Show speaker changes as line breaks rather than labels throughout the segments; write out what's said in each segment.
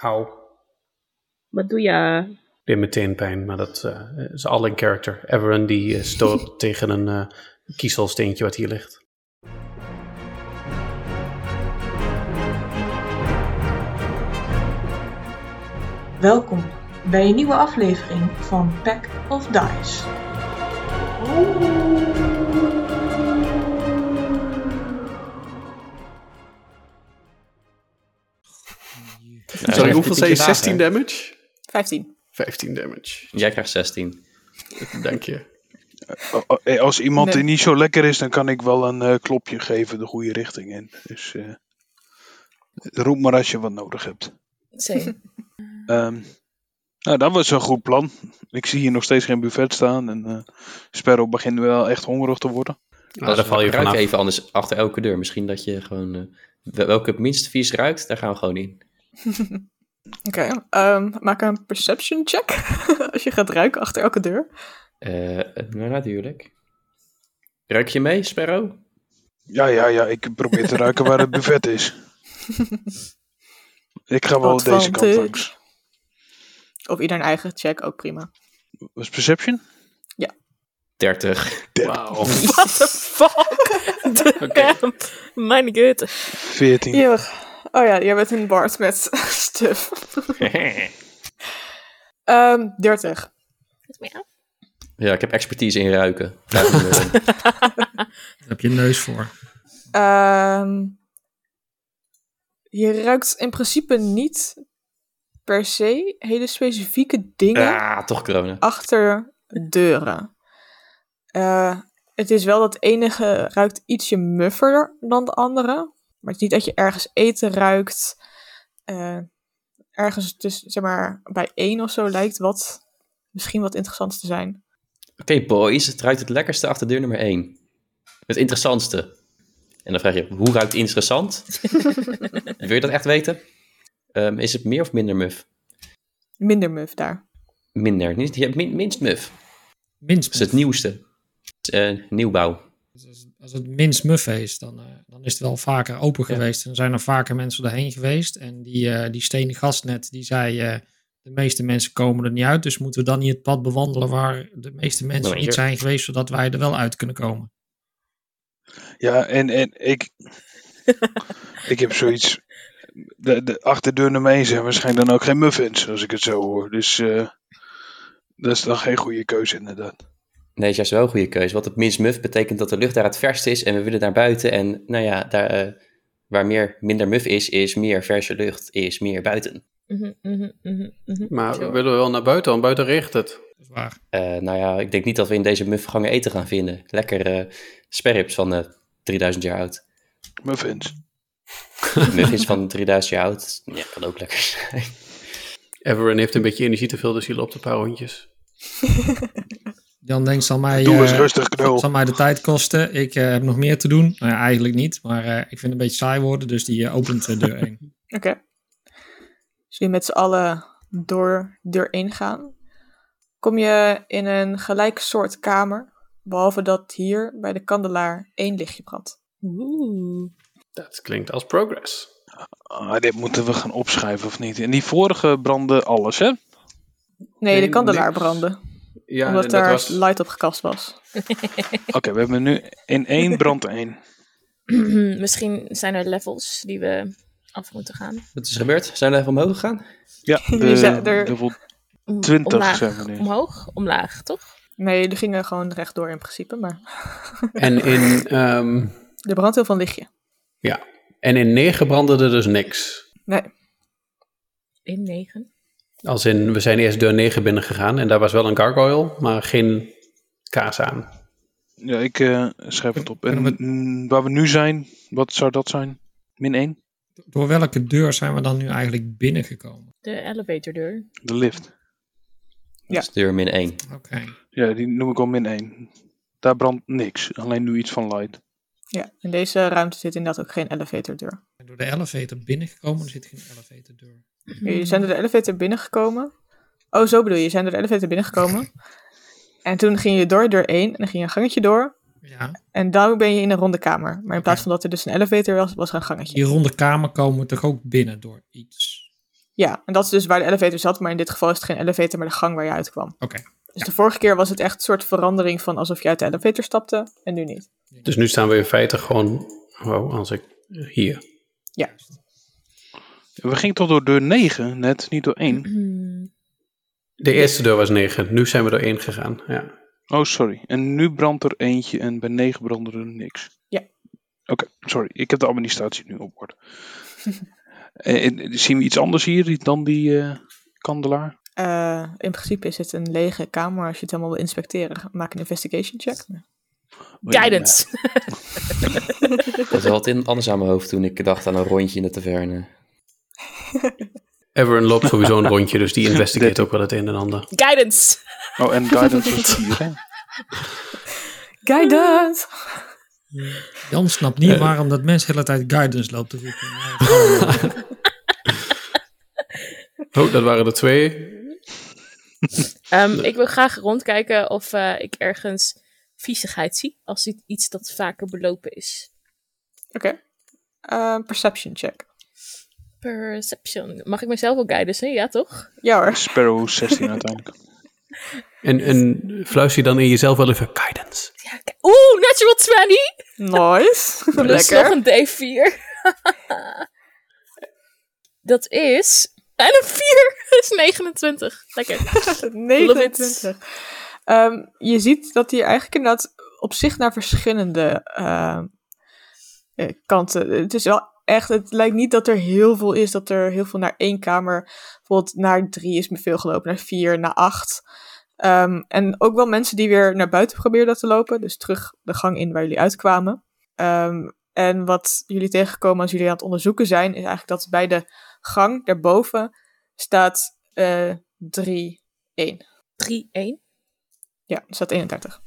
Hou.
Wat doe je?
Deed meteen pijn, maar dat eh, is al in character. Everon die eh, stoot tegen een eh, kiezelsteentje wat hier ligt.
Welkom bij een nieuwe aflevering van Pack of Dice.
Sorry, hoeveel zei je? 16 damage?
15.
15 damage,
Jij krijgt
Ah,
16.
dank je.
Oh, oh, eh, Als iemand
Nee.
die niet zo lekker is, dan kan ik wel een eh, klopje geven de goede richting in. Dus eh, roep maar als je wat nodig hebt.
Zeker.
Ehm, nou, dat was een goed plan. Ik zie hier nog steeds geen buffet staan. En eh Sparrow begint wel echt hongerig te worden.
Nou, daar val je
ruikt
vanaf.
even anders achter elke deur. Misschien dat je gewoon... eh, wel- welke het minst vies ruikt, daar gaan we gewoon in.
Oké, ehm, maak een perception check. Als je gaat ruiken achter elke deur.
Eh, maar natuurlijk. Ruik je mee, Sparrow?
Ja, ja, ja. Ik probeer te ruiken waar het buffet is. ik ga wel deze kant
Advantage.
langs.
Of ieder een eigen check, ook prima.
Was perception?
30.
Wauw.
What the fuck? Damn. Mijn god.
14.
Eeuwig. Oh ja, jij bent een bard met stuf. Ehm 30.
ja, ik heb expertise in ruiken. eh, Vraag me maar om.
Daar heb je een neus voor.
Ehm, je ruikt in principe niet per se hele specifieke dingen
ah, toch corona.
achter deuren. Eh, het is wel dat enige ruikt ietsje muffer dan de andere. Maar het is niet dat je ergens eten ruikt. Eh, ergens tussen, zeg maar, bij één of zo lijkt wat misschien wat interessants te zijn.
Oké, boys. Het ruikt het lekkerste achter deur nummer 1. Het interessantste. En dan vraag je, hoe ruikt interessant? Wil je dat echt weten? Ehm, is het meer of minder muf?
Minder muf daar.
Minder. Niet- Je hebt min- minst muf. Dat
Minst
is Dus het
muff.
nieuwste. Het is, eh, nieuwbouw.
Dus als- Als het minst muff is, dan, eh, dan is het wel vaker open
Ja.
geweest. En dan zijn er vaker mensen erheen geweest. En die, eh, die stenen gastnet, die zei... eh, de meeste mensen komen er niet uit, dus moeten we dan niet het pad bewandelen waar de meeste mensen
Nou,
niet
je-
zijn geweest, zodat wij er wel uit kunnen komen.
Ja, en, en ik. ik heb zoiets. De, de achterdeur nummer 1 zijn waarschijnlijk dan ook geen muffins, als ik het zo hoor. Dus. eh, dat is dan geen goede keuze, inderdaad.
Nee, dat is juist wel een goede keuze. Want het minst muf betekent dat de lucht daar het verst is en we willen naar buiten. En nou ja, daar, eh, waar meer, minder muf is, is meer verse lucht, is meer buiten.
Mhm, mhm, mhm, mhm.
Maar
Zo.
willen we wel naar buiten, want buiten regent het.
Dat is waar.
Eh, nou ja, ik denk niet dat we in deze mufgangen eten gaan vinden. Lekker eh sperrips van eh, 3000 jaar oud.
Muffins.
Muff is van 3000 jaar oud. Ja, kan ook lekker zijn.
Everon heeft een beetje energie te veel, dus hij loopt een paar rondjes.
Dan denkt zal mij,
Doe eens
eh,
rustig, knul.
zal mij de tijd kosten. Ik eh, heb nog meer te doen. Nou ja, eigenlijk niet, maar eh, ik vind het een beetje saai worden, dus die eh, opent eh, deur 1.
Oké. Dus jullie met z'n allen door deur 1 gaan. Kom je in een gelijk soort kamer. Behalve dat hier bij de kandelaar één lichtje brandt.
Oeh.
Dat klinkt als progress.
Ah, dit moeten we gaan opschrijven, of niet? En die vorige brandde alles, hè?
Nee,
Nee,
de kandelaar
niks.
brandde.
Ja,
omdat
en
daar light op gekast was.
Oké, we hebben nu in één brand één.
Misschien zijn er levels die we af moeten gaan.
Wat is er gebeurd? Zijn we even omhoog gegaan?
Ja,
Jullie zijn
de,
er-
de vol-
Om-
20
omlaag,
zijn we nu.
Omhoog, omlaag, toch?
Nee, die gingen gewoon rechtdoor in principe, maar
En in, ehm,
er brandt heel veel lichtje.
ja. en in 9 brandde er dus niks.
Nee,
In negen.
Als in, we zijn eerst deur 9 binnen gegaan en daar was wel een gargoyle, maar geen kaas aan.
Ja, ik eh, schrijf het op. En
Kunnen
mm, waar we nu zijn, wat zou dat zijn? Min 1?
Door welke deur zijn we dan nu eigenlijk binnengekomen?
De elevatordeur.
De lift.
Ja.
Dus deur min 1.
Oké.
Ja, die noem ik al min 1. Daar brandt niks. Alleen nu iets van light.
ja. In deze ruimte zit inderdaad ook geen elevatordeur.
En Door de elevator binnengekomen, er zit geen elevatordeur.
Jullie zijn door de elevator binnengekomen. Oh, zo bedoel je, je zijn door de elevator binnengekomen. en toen ging je door deur 1 en dan ging je een gangetje door.
Ja.
En daarom ben je in een ronde kamer. Maar in plaats van dat er dus een elevator was, was er een gangetje.
Die ronde kamer komen we toch ook binnen door iets.
Ja, en dat is dus waar de elevator zat, maar in dit geval is het geen elevator, maar de gang waar je uitkwam.
Oké.
Dus de vorige keer was het echt een soort verandering van alsof je uit de elevator stapte en nu niet.
Dus nu staan we in feite gewoon, wow, als ik hier.
We gingen toch door deur 9 net, niet door 1.
Hmm.
De eerste deur was 9, nu zijn we door 1 gegaan. Ja.
Oh, sorry. En nu brandt er eentje en bij 9 brandde er niks.
Ja.
Oké, sorry. Ik heb de administratie nu op orde. Eh, eh, zien we iets anders hier dan die eh, kandelaar?
Eh, in principe is het een lege kamer als je het helemaal wil inspecteren. Maak een investigation check.
Guidance.
Dat is wel wat in, anders aan mijn hoofd toen ik dacht aan een rondje in de taverne.
Everon loopt sowieso een rondje, dus die investigeert ook wel het een en ander.
Guidance.
Oh, en guidance was 4, hè?
Guidance!
Jan snapt niet waarom dat mens de hele tijd guidance loopt te roepen. Maar-
Oh, dat waren er twee.
Ehm, Ik wil graag rondkijken of eh, ik ergens viezigheid zie. Als dit iets dat vaker belopen is.
Oké. Eh, perception check.
Perception. Mag ik mezelf ook guidance? hè? Ja, toch?
Ja hoor.
Sparrow 16 uiteindelijk.
En, en fluister je dan in jezelf wel even guidance.
Ja, ki- Oeh, natural 20!
Nice.
Plus nog
Lekker.
een D4. dat is... En een 4! Dat is 29. Lekker.
29. Ehm, je ziet dat hij eigenlijk inderdaad op zich naar verschillende ehm, eh, kanten. Het is wel echt, het lijkt niet dat er heel veel is, dat er heel veel naar één kamer, bijvoorbeeld naar drie is me veel gelopen, naar vier, naar acht. Ehm, en ook wel mensen die weer naar buiten probeerden te lopen, dus terug de gang in waar jullie uitkwamen. Ehm, en wat jullie tegenkomen als jullie aan het onderzoeken zijn, is eigenlijk dat bij de gang daarboven staat eh drie
3, 1.
ja, er staat 31.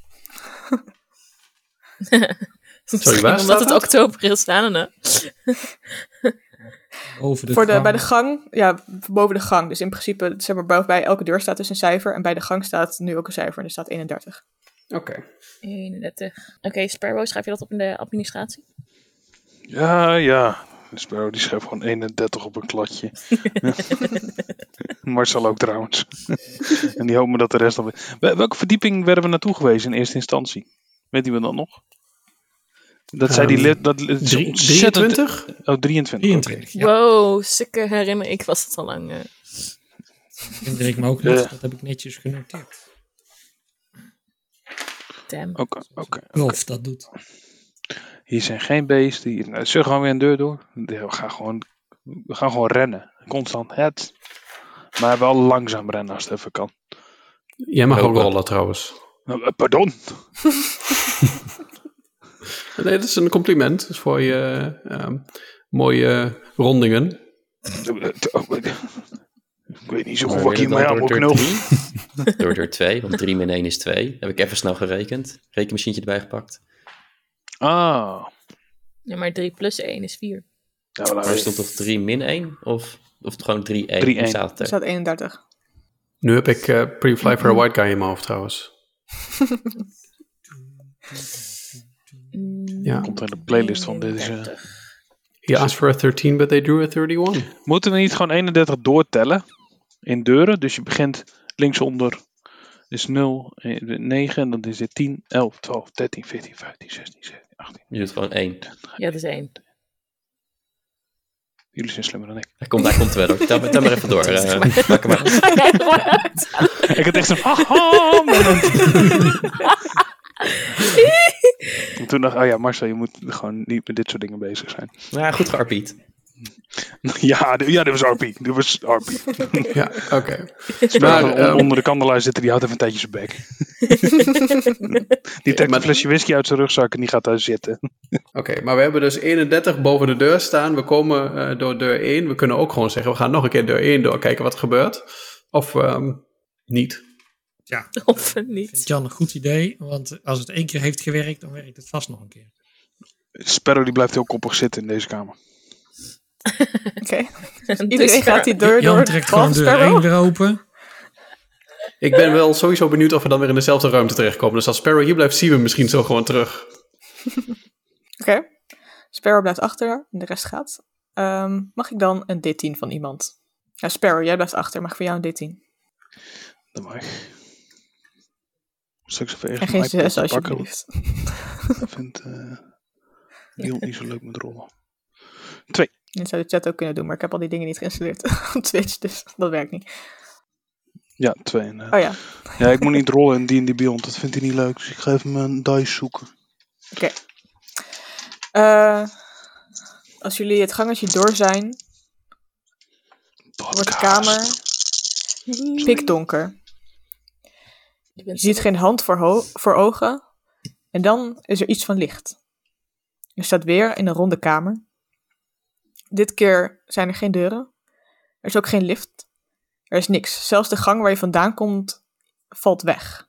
Sorry, waar
Omdat
staat
het
dat?
oktober is. Na, na, na.
Over de
Voor de,
gang.
bij de gang, ja, boven de gang. Dus in principe, zeg maar, boven- bij elke deur staat dus een cijfer. En bij de gang staat nu ook een cijfer en er staat 31.
Oké.
31. Oké, Sparrow, schrijf je dat op in de administratie?
Ja, ja. Sparrow die schreef gewoon 31 op een kladje. Marcel ook trouwens. en die hopen dat de rest al... weet. Wel- Welke verdieping werden we naartoe geweest in eerste instantie? Weet iemand dat nog? Dat zei die
Ehm,
lid... Dat, het is
Drie-
ontzettend-
23?
Oh, 23.
23. Ja,
Wow, stukken herinner ik was het al lang. eh.
herinner ik me ook nog.
Ja.
Dat heb ik netjes genoteerd.
damn.
Oké, oké.
Rolf dat doet.
Hier zijn geen beesten. Hier... Nou, zullen we gewoon weer een deur door? Ja, We gaan gewoon, we gaan gewoon rennen. Constant. Het. Maar wel langzaam rennen als het even kan.
Jij mag ook
Lopen.
rollen trouwens.
Eh, Pardon.
Nee, dat is een compliment. Dat is voor je ehm, mooie rondingen.
Oh, Ik weet niet zo
Maar
goed wat ik
weer
hiermee aan
dan
moet
door
knopen.
deur drie? Door deur 2, want 3 min 1 is 2. Heb ik even snel gerekend. Rekenmachientje erbij gepakt.
Ah.
Ja, maar 3 plus 1 is 4.
Ja, maar
Maar er stond toch 3 min 1? Of, of gewoon 3 1?
3-1.
Staat
Er
er.
staat 31.
Nu heb ik eh, Pretty Fly for a White Guy in mijn hoofd trouwens. Ja.
Komt er in de playlist van eh, deze.
He asked for a 13, but they drew a 31.
Moeten we niet gewoon 31 doortellen? In deuren. Dus je begint linksonder. Is 0, eh, 9. En dan is dit 10, 11, 12, 13, 14, 15, 16, 17, 18.
Je doet gewoon 1.
Ja, dat is 1.
Jullie zijn slimmer dan ik.
Hij komt, hij komt er wel. hoor. Tel, tel maar even door. eh, pak hem maar.
Ik had echt zo'n haha moment. En toen dacht ik, oh ja, Marcel, je moet gewoon niet met dit soort dingen bezig zijn.
Ja, goed gearpied.
Ja, dit- ja dit was RP. Dit was RP.
Ja, oké.
Maar,
Maar, ehm,
onder de kandelaar zitten, die houdt even een tijdje zijn bek. die trekt
maar-
een flesje whisky uit zijn rugzak en die gaat daar zitten.
Oké, maar we hebben dus 31 boven de deur staan. We komen eh, door deur 1. We kunnen ook gewoon zeggen, we gaan nog een keer deur 1 door. Kijken wat er gebeurt. Of ehm, niet.
Ja,
Of
vindt
niet.
Jan een goed idee. Want als het één keer heeft gewerkt, dan werkt het vast nog een keer.
Sparrow die blijft heel koppig zitten in deze kamer.
Oké.
Dus
Iedereen gaat die deur door.
Jan trekt gewoon
behalve
deur
Sparrow.
1 weer open.
Ik ben wel sowieso benieuwd of we dan weer in dezelfde ruimte terechtkomen. Dus als Sparrow hier blijft, zien we hem misschien zo gewoon terug.
Oké. Sparrow blijft achter en de rest gaat. Ehm, mag ik dan een D10 van iemand? Ja, Sparrow, jij blijft achter. Mag voor jou een D10.
Dat mag. Straks even
En
ergens
geen
een iPad
6
te pakken. want
alsjeblieft.
Ik vind eh Wiel niet zo leuk met rollen. Twee.
Dat zou de chat ook kunnen doen, maar ik heb al die dingen niet geïnstalleerd op Twitch, dus dat werkt niet.
Ja, twee. inderdaad.
Oh ja,
Ja, ik moet niet rollen in D&D Beyond. Dat vindt hij niet leuk. Dus ik ga even mijn dice zoeken.
Oké. Eh, als jullie het gangetje door zijn, wordt de
Podcast.
kamer pikdonker.
Je
Je
bent
ziet geen hand voor, ho- voor ogen. En dan is er iets van licht. Je staat weer in een ronde kamer. Dit keer zijn er geen deuren. Er is ook geen lift. Er is niks. Zelfs de gang waar je vandaan komt, valt weg.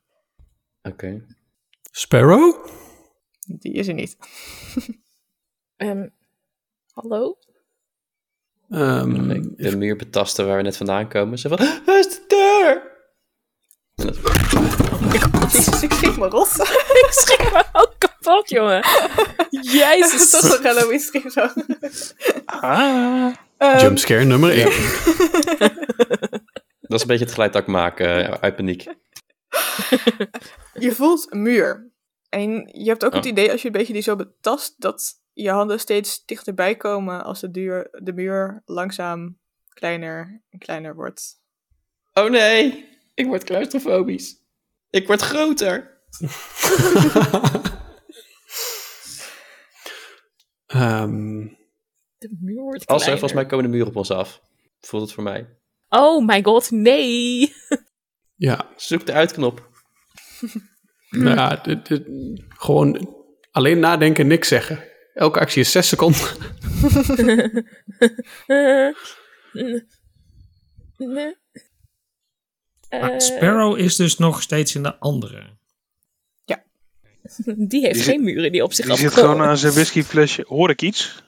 Oké.
Sparrow?
Die is er niet.
Ehm, hallo?
Ehm,
De muur betasten waar we net vandaan komen. Ze van, "Ah, waar is de deur? En dat-
Jezus, ik schrik me rot.
ik schrik me ook kapot, jongen. Jezus.
Toch nog Halloween schrik zo.
Ah.
Ehm,
jumpscare nummer 1.
dat is een beetje het geluid dat ik maak eh, uit paniek.
Je voelt een muur. En je hebt ook het
Oh.
idee, als je een beetje die zo betast, dat je handen steeds dichterbij komen als de, duur, de muur langzaam kleiner en kleiner wordt.
Oh nee, ik word claustrofobisch. Ik word groter.
Ehm,
De muur wordt
Als er,
kleiner.
volgens mij komen de muren op ons af. Voelt het voor mij.
Oh my god, nee.
ja,
Zoek de uitknop.
nou ja, dit- dit- gewoon alleen nadenken, niks zeggen. Elke actie is 6 seconden.
Eh, mm, nee.
Maar
Eh,
Sparrow is dus nog steeds in de andere.
die heeft
Die zit-
geen muren die op zich
Die zit
afkomen.
gewoon aan zijn whiskyflesje. Hoor ik iets?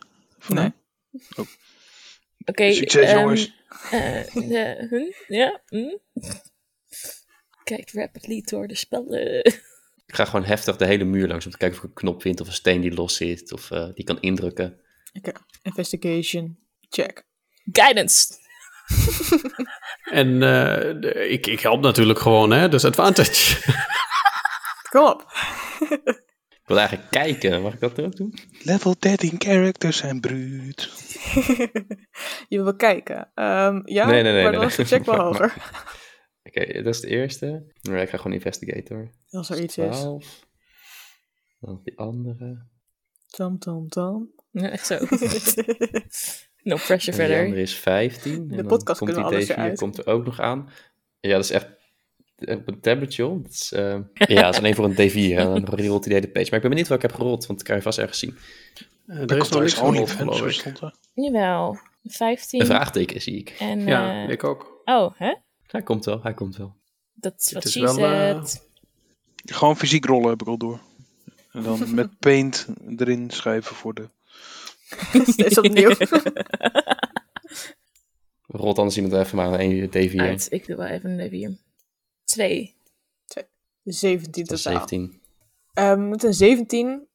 Nee.
Oké,
Succes,
ehm,
jongens.
eh, eh, hm, ja, hm. Kijk rapidly door de spellen.
Ik ga gewoon heftig de hele muur langs om te kijken of ik een knop vind of een steen die los zit of eh, die kan indrukken.
Oké, investigation, check.
Guidance.
En eh, de- ik, ik help natuurlijk gewoon, hè? Dus advantage.
Kom op.
Ik wil eigenlijk kijken. Mag ik dat nu ook doen?
Level 13 characters zijn bruut.
je wil kijken. Ehm, ja,
Nee, nee, nee,
maar
nee,
dan is de
nee.
check wel
Maar-
hoger.
Oké, dat is de eerste. Maar ik ga gewoon investigator.
Als er iets is.
12. Dan die andere.
Tam, tam, tam.
Ja, echt zo. No pressure
En die
verder.
andere is 15.
De
en dan
podcast
komt
kunnen
die
we alles
D4
eruit.
komt er ook nog aan. Ja, dat is echt eh, op een tablet, joh. Dat is, eh, ja, dat is alleen voor een D4. hè. Dan rolt hij de hele page. Maar ik ben benieuwd wat ik heb gerold, want dat kan je vast ergens zien.
Eh, er
Dat
is
komt
nog
uit
niks
gewoon
gerold,
niet, hè?
geloof
Zo
ik.
stond er.
Jawel.
Een
15.
vraagteken zie ik.
En,
Ja,
eh,
ik ook.
Oh, hè?
Hij komt wel, hij komt wel.
Dat is wat
is
she
wel, eh,
said.
Gewoon fysiek rollen heb ik al door. En dan met paint erin schrijven voor de...
Steeds opnieuw.
Rolt anders iemand even maar een D4.
Uit, ik doe wel even een levier. Twee.
17
Dat is
totaal.
17.
Ehm, met een 17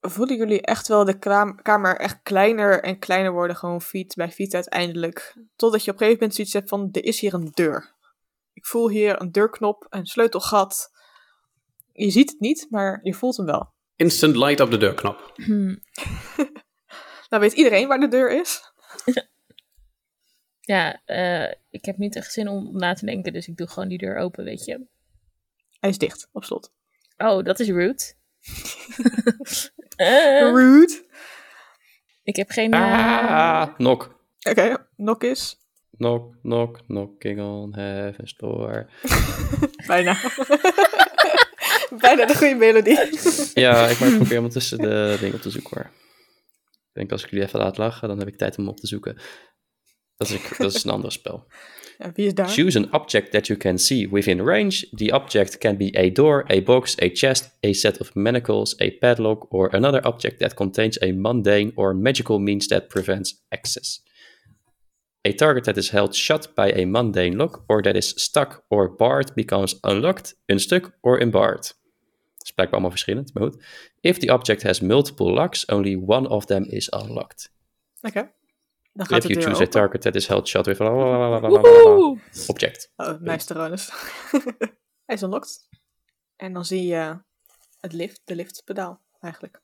voelen jullie echt wel de kraam- kamer echt kleiner en kleiner worden, gewoon fiets bij fiets uiteindelijk. Totdat je op een gegeven moment zoiets hebt van, er is hier een deur. Ik voel hier een deurknop, een sleutelgat. Je ziet het niet, maar je voelt hem wel.
Instant light op de deurknop.
Nou weet iedereen waar de deur is.
Ja, eh, ik heb niet echt zin om na te denken, dus ik doe gewoon die deur open, weet je.
Hij is dicht, op slot.
Oh, dat is rude. Eh,
Rude.
ik heb geen... eh,
Ah, knock.
Oké, nok is.
Knock, knock, knocking on heaven's door.
Bijna. Bijna de goede melodie.
Ja, ik maar probeer om tussen de dingen op te zoeken hoor. Ik denk als ik jullie even laat lachen, dan heb ik tijd om op te zoeken. Dat is, dat is een ander spel.
Ja, wie is daar?
Choose an object that you can see within range. The object can be a door, a box, a chest, a set of manacles, a padlock, or another object that contains a mundane or magical means that prevents access. A target that is held shut by a mundane lock or that is stuck or barred becomes unlocked, unstuck, or unbarred. Dat is blijkbaar allemaal verschillend, maar goed. If the object has multiple locks, only one of them is unlocked.
Oké. Dan gaat
If
de
you
deur
choose a
open.
target that is held shot with... blablabla.
Woehoe!
Object.
Oh, nice Tyrannus. Hij is unlocked. En dan zie je het lift, de liftpedaal eigenlijk.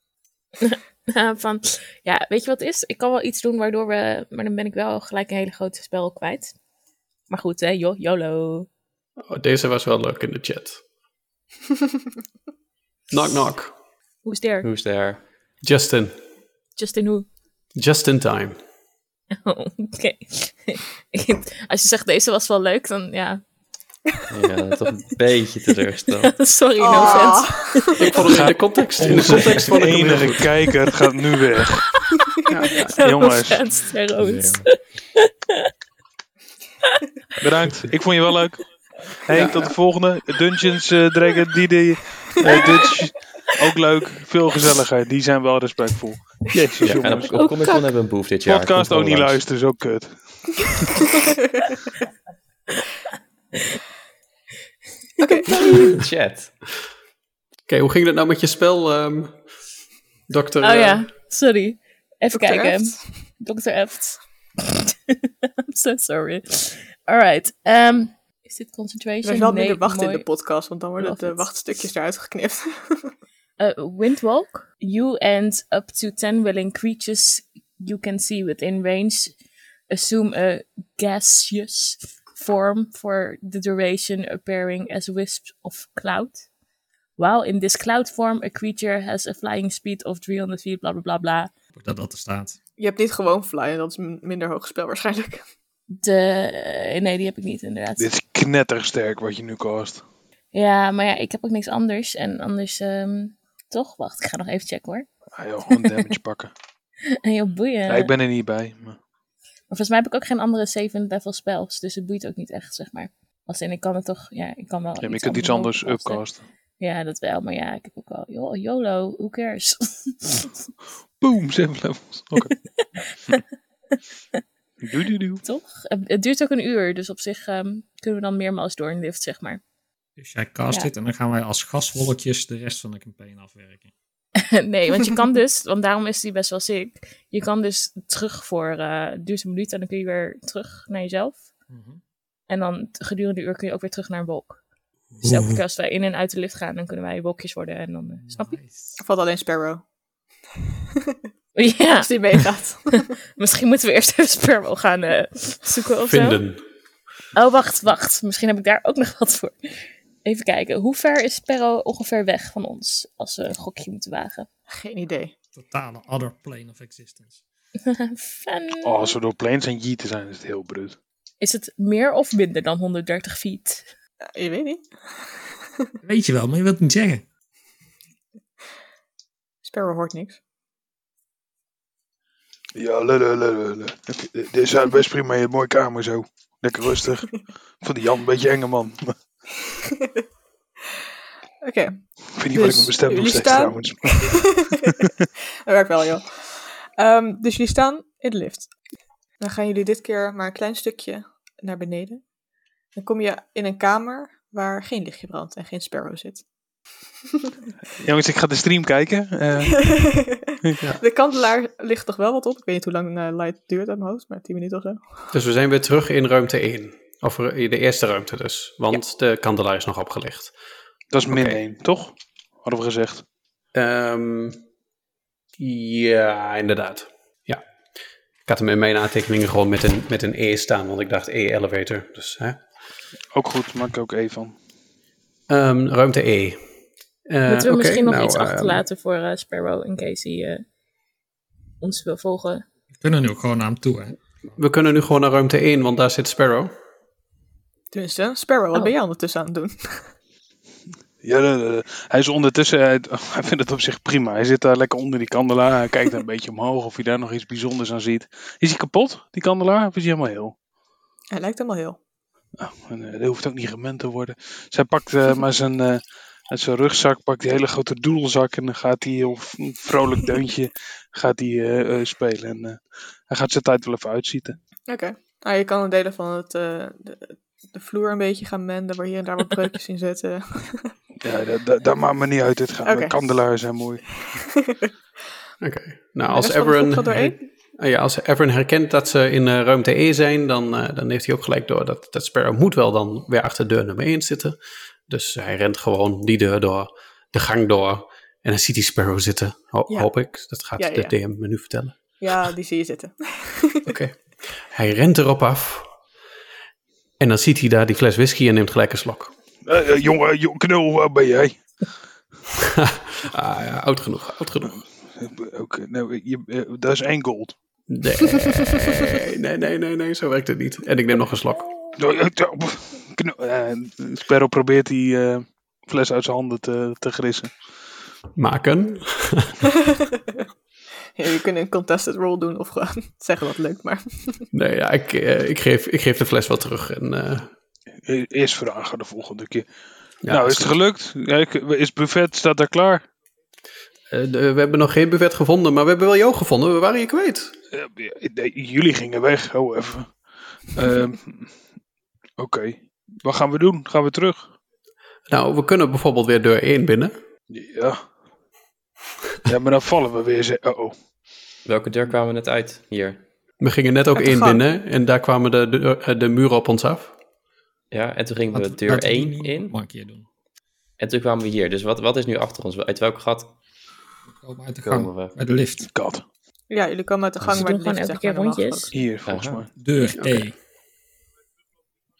Nou, van, ja, weet je wat het is? Ik kan wel iets doen waardoor we... Maar dan ben ik wel gelijk een hele grote spel kwijt. Maar goed, hè, joh, YOLO.
Oh, deze was wel leuk in de chat. knock, knock.
Hoe is there?
Who's there?
Justin.
Justin who?
Just in time.
Oh, Oké. Als je zegt deze was wel leuk, dan ja.
Ja, toch een beetje teleurgesteld.
Sorry, no offense.
Ah.
Ik vond het in de context. In de context
Onze
vond ik hem heel
enige
goed.
kijker gaat nu weg.
No
jongens.
offense, Terrence.
Bedankt. Ik vond je wel leuk. Hey, tot de volgende. Dungeons eh Dragon, die die. eh, Dutch. Ook leuk. Veel gezelliger. Die zijn wel respectvol. Jezus,
Ja, en
jongens.
op, op Comic Con hebben we een boef dit jaar.
Podcast
Komt
ook niet
langs.
luisteren, is ook kut.
Chat.
Oké, hoe ging dat nou met je spel, ehm dokter?
Oh
eh,
ja, sorry. Even
Dr.
kijken.
Eft.
Dr. Eft. I'm so sorry. Alright. ehm, is dit
Ik
concentration?
ben wel
nee,
minder wachten in
mooi.
de podcast, want dan worden
Love
de
it.
wachtstukjes eruit geknipt.
Uh, windwalk. You and up to 10 willing creatures you can see within range assume a gaseous form for the duration, appearing as wisps of cloud. While in this cloud form, a creature has a flying speed of 300 feet, bla bla bla bla.
dat dat er staat.
je hebt niet gewoon flyen, dat is een minder hoog spel waarschijnlijk.
De, eh, nee, die heb ik niet inderdaad.
Dit is knettersterk wat je nu cast.
Ja, maar ja, ik heb ook niks anders. En anders, ehm, toch? Wacht, ik ga nog even checken hoor.
Ah, joh, gewoon damage pakken.
Heel boeiend.
Ja, ik ben er niet bij. Maar...
Maar volgens mij heb ik ook geen andere 7 level spels. Dus het boeit ook niet echt, zeg maar. Als in, ik kan het toch... Ja, ik kan wel
Ja, maar je kunt iets anders upcasten.
Ja, dat wel. Maar ja, ik heb ook wel... Joh, YOLO, who cares?
Boom, zeven levels. Oké. doe, doe, doe.
toch? Het- Het duurt ook een uur. Dus op zich ehm, kunnen we dan meermaals door een lift, zeg maar.
Dus jij cast
Ja.
dit en dan gaan wij als gaswolkjes de rest van de campaign afwerken.
nee, want je kan dus... Want daarom is die best wel sick. Je kan dus terug voor... eh, het duurt een minuut en dan kun je weer terug naar jezelf.
Mhm.
En dan t- gedurende de uur kun je ook weer terug naar een wolk. Dus elke keer als wij in en uit de lift gaan, dan kunnen wij wolkjes worden. En dan, eh, snap je?
Er valt alleen Sparrow,
Ja.
als die meegaat.
Misschien moeten we eerst even Spermo gaan eh, zoeken of
Vinden.
zo. Oh, wacht, wacht. Misschien heb ik daar ook nog wat voor. Even kijken. Hoe ver is Sperro ongeveer weg van ons? Als we een gokje moeten wagen.
Geen idee.
Totale other plane of existence.
Fun.
Oh, als we door planes en jieten zijn, is het heel bruut.
Is het meer of minder dan 130 feet?
Eh, je weet niet.
Weet je wel, maar je wilt het niet zeggen.
Sparrow hoort niks.
Ja, lullen, lullen, lullen. Dit is uit best prima. Je hebt een mooie kamer zo. Lekker rustig. Ik vond die Jan een beetje enge man. Maar
Oké,
Ik weet niet wat ik met
Dus
mijn stem nog
jullie
zeg
staan?
trouwens.
dat werkt wel, joh. Ehm, dus jullie staan in de lift. Dan gaan jullie dit keer maar een klein stukje naar beneden. Dan kom je in een kamer waar geen lichtje brandt en geen sparrow zit.
Jongens, ik ga de stream kijken. Eh,
De kandelaar ligt toch wel wat op. Ik weet niet hoe lang eh, light duurt uit mijn hoofd, maar 10 minuten of zo.
Dus we zijn weer terug in ruimte 1. Of ru- in de eerste ruimte dus. Want de kandelaar is nog opgelicht.
dat is min
Oké.
1, toch? Hadden we gezegd.
Ehm, ja, inderdaad. Ja. Ik had hem in mijn aantekeningen gewoon met een, met een E staan. Want ik dacht E-elevator. Dus, hè.
Ook goed, maak ik ook E van.
Ehm, ruimte E. Eh,
Moeten we
oké,
misschien nog
nou,
iets
ehm,
achterlaten voor eh Sparrow in case hij eh, ons wil volgen?
We kunnen nu ook gewoon naar hem toe, hè?
we kunnen nu gewoon naar ruimte 1, want daar zit Sparrow.
Tenminste, Sparrow, wat
Oh.
ben jij ondertussen aan het doen?
Ja, ja, ja, ja. hij is ondertussen, hij, hij vindt het op zich prima. Hij zit daar lekker onder die kandelaar. Hij kijkt een beetje omhoog of hij daar nog iets bijzonders aan ziet. Is hij kapot, die kandelaar? Of is hij helemaal heel?
Hij lijkt helemaal heel.
Oh, en, eh, dat hoeft ook niet gemend te worden. Zij pakt eh, maar zijn, eh, uit zijn rugzak, pakt die hele grote doedelzak. En dan gaat hij heel v- een vrolijk deuntje gaat hij, eh, eh, spelen. En eh, hij gaat zijn tijd wel even uitzieten.
Oké. Nou, je kan een delen van het, eh, de, de vloer een beetje gaan menden, waar hier en daar wat breukjes in zitten.
Ja, da- da- daar maakt me niet uit. Het gaan.
Oké.
Kandelaars zijn mooi.
Oké. Nou,
De
als
rest van de groep
Everon
gaat door één.
Nou ja, als Everin herkent dat ze in eh, ruimte E zijn, dan, eh, dan heeft hij ook gelijk door dat, dat Sparrow moet wel dan weer achter deur nummer 1 zitten. Dus hij rent gewoon die deur door, de gang door. En dan ziet hij Sparrow zitten, ho-
Ja.
hoop ik. Dat gaat
Ja, ja,
de DM me nu vertellen.
Ja, die zie je zitten.
Oké. hij rent erop af. En dan ziet hij daar die fles whisky en neemt gelijk een slok.
Eh, eh, jongen, jong, knul, waar ben jij?
Ah ja, oud genoeg, oud genoeg.
Eh, Oké, nou, je, eh, dat is één gold.
Nee, nee, nee, nee, nee, zo werkt het niet. En ik neem nog een slok.
Nou, eh, ja, pff, knul- eh, Sparrow probeert die eh, fles uit zijn handen te, te grissen.
Maken.
Ja, je kunt een contested roll doen of gewoon zeggen wat leuk, maar...
Nee, ja, ik, eh, ik, geef, ik geef de fles wel terug. En, eh,
E- Eerst vragen de volgende keer.
ja, dus,
nou, is het gelukt? Ja, ik- Is het buffet, staat daar klaar?
Eh, de- we hebben nog geen buffet gevonden, maar we hebben wel jou gevonden. We waren je kwijt.
Eh, nee, jullie gingen weg. Oh, even. Ehm, Oké. Wat gaan we doen? Gaan we terug?
Nou, we kunnen bijvoorbeeld weer deur 1 binnen.
Ja. Ja, maar dan vallen we weer. ze- Oh, oh.
Welke deur kwamen we net uit? Hier.
We gingen net ook
Uit de
1
gang.
binnen en daar kwamen de, de, eh, de muren op ons af.
Ja, en toen gingen
Laten
we
we-
deur
laten we die
1
nu
in.
Maar een keer doen.
En toen kwamen we hier. Dus wat, wat is nu achter ons? Uit welk gat
We komen uit de
komen
gang,
we?
uit de lift.
kat.
Ja, jullie komen uit de gang
Ze
waar
Dus doen
het
gewoon
lift
elke
zeg
keer
maar,
rondjes.
normaal gesproken-
Hier, volgens
Aha.
mij.
Deur E.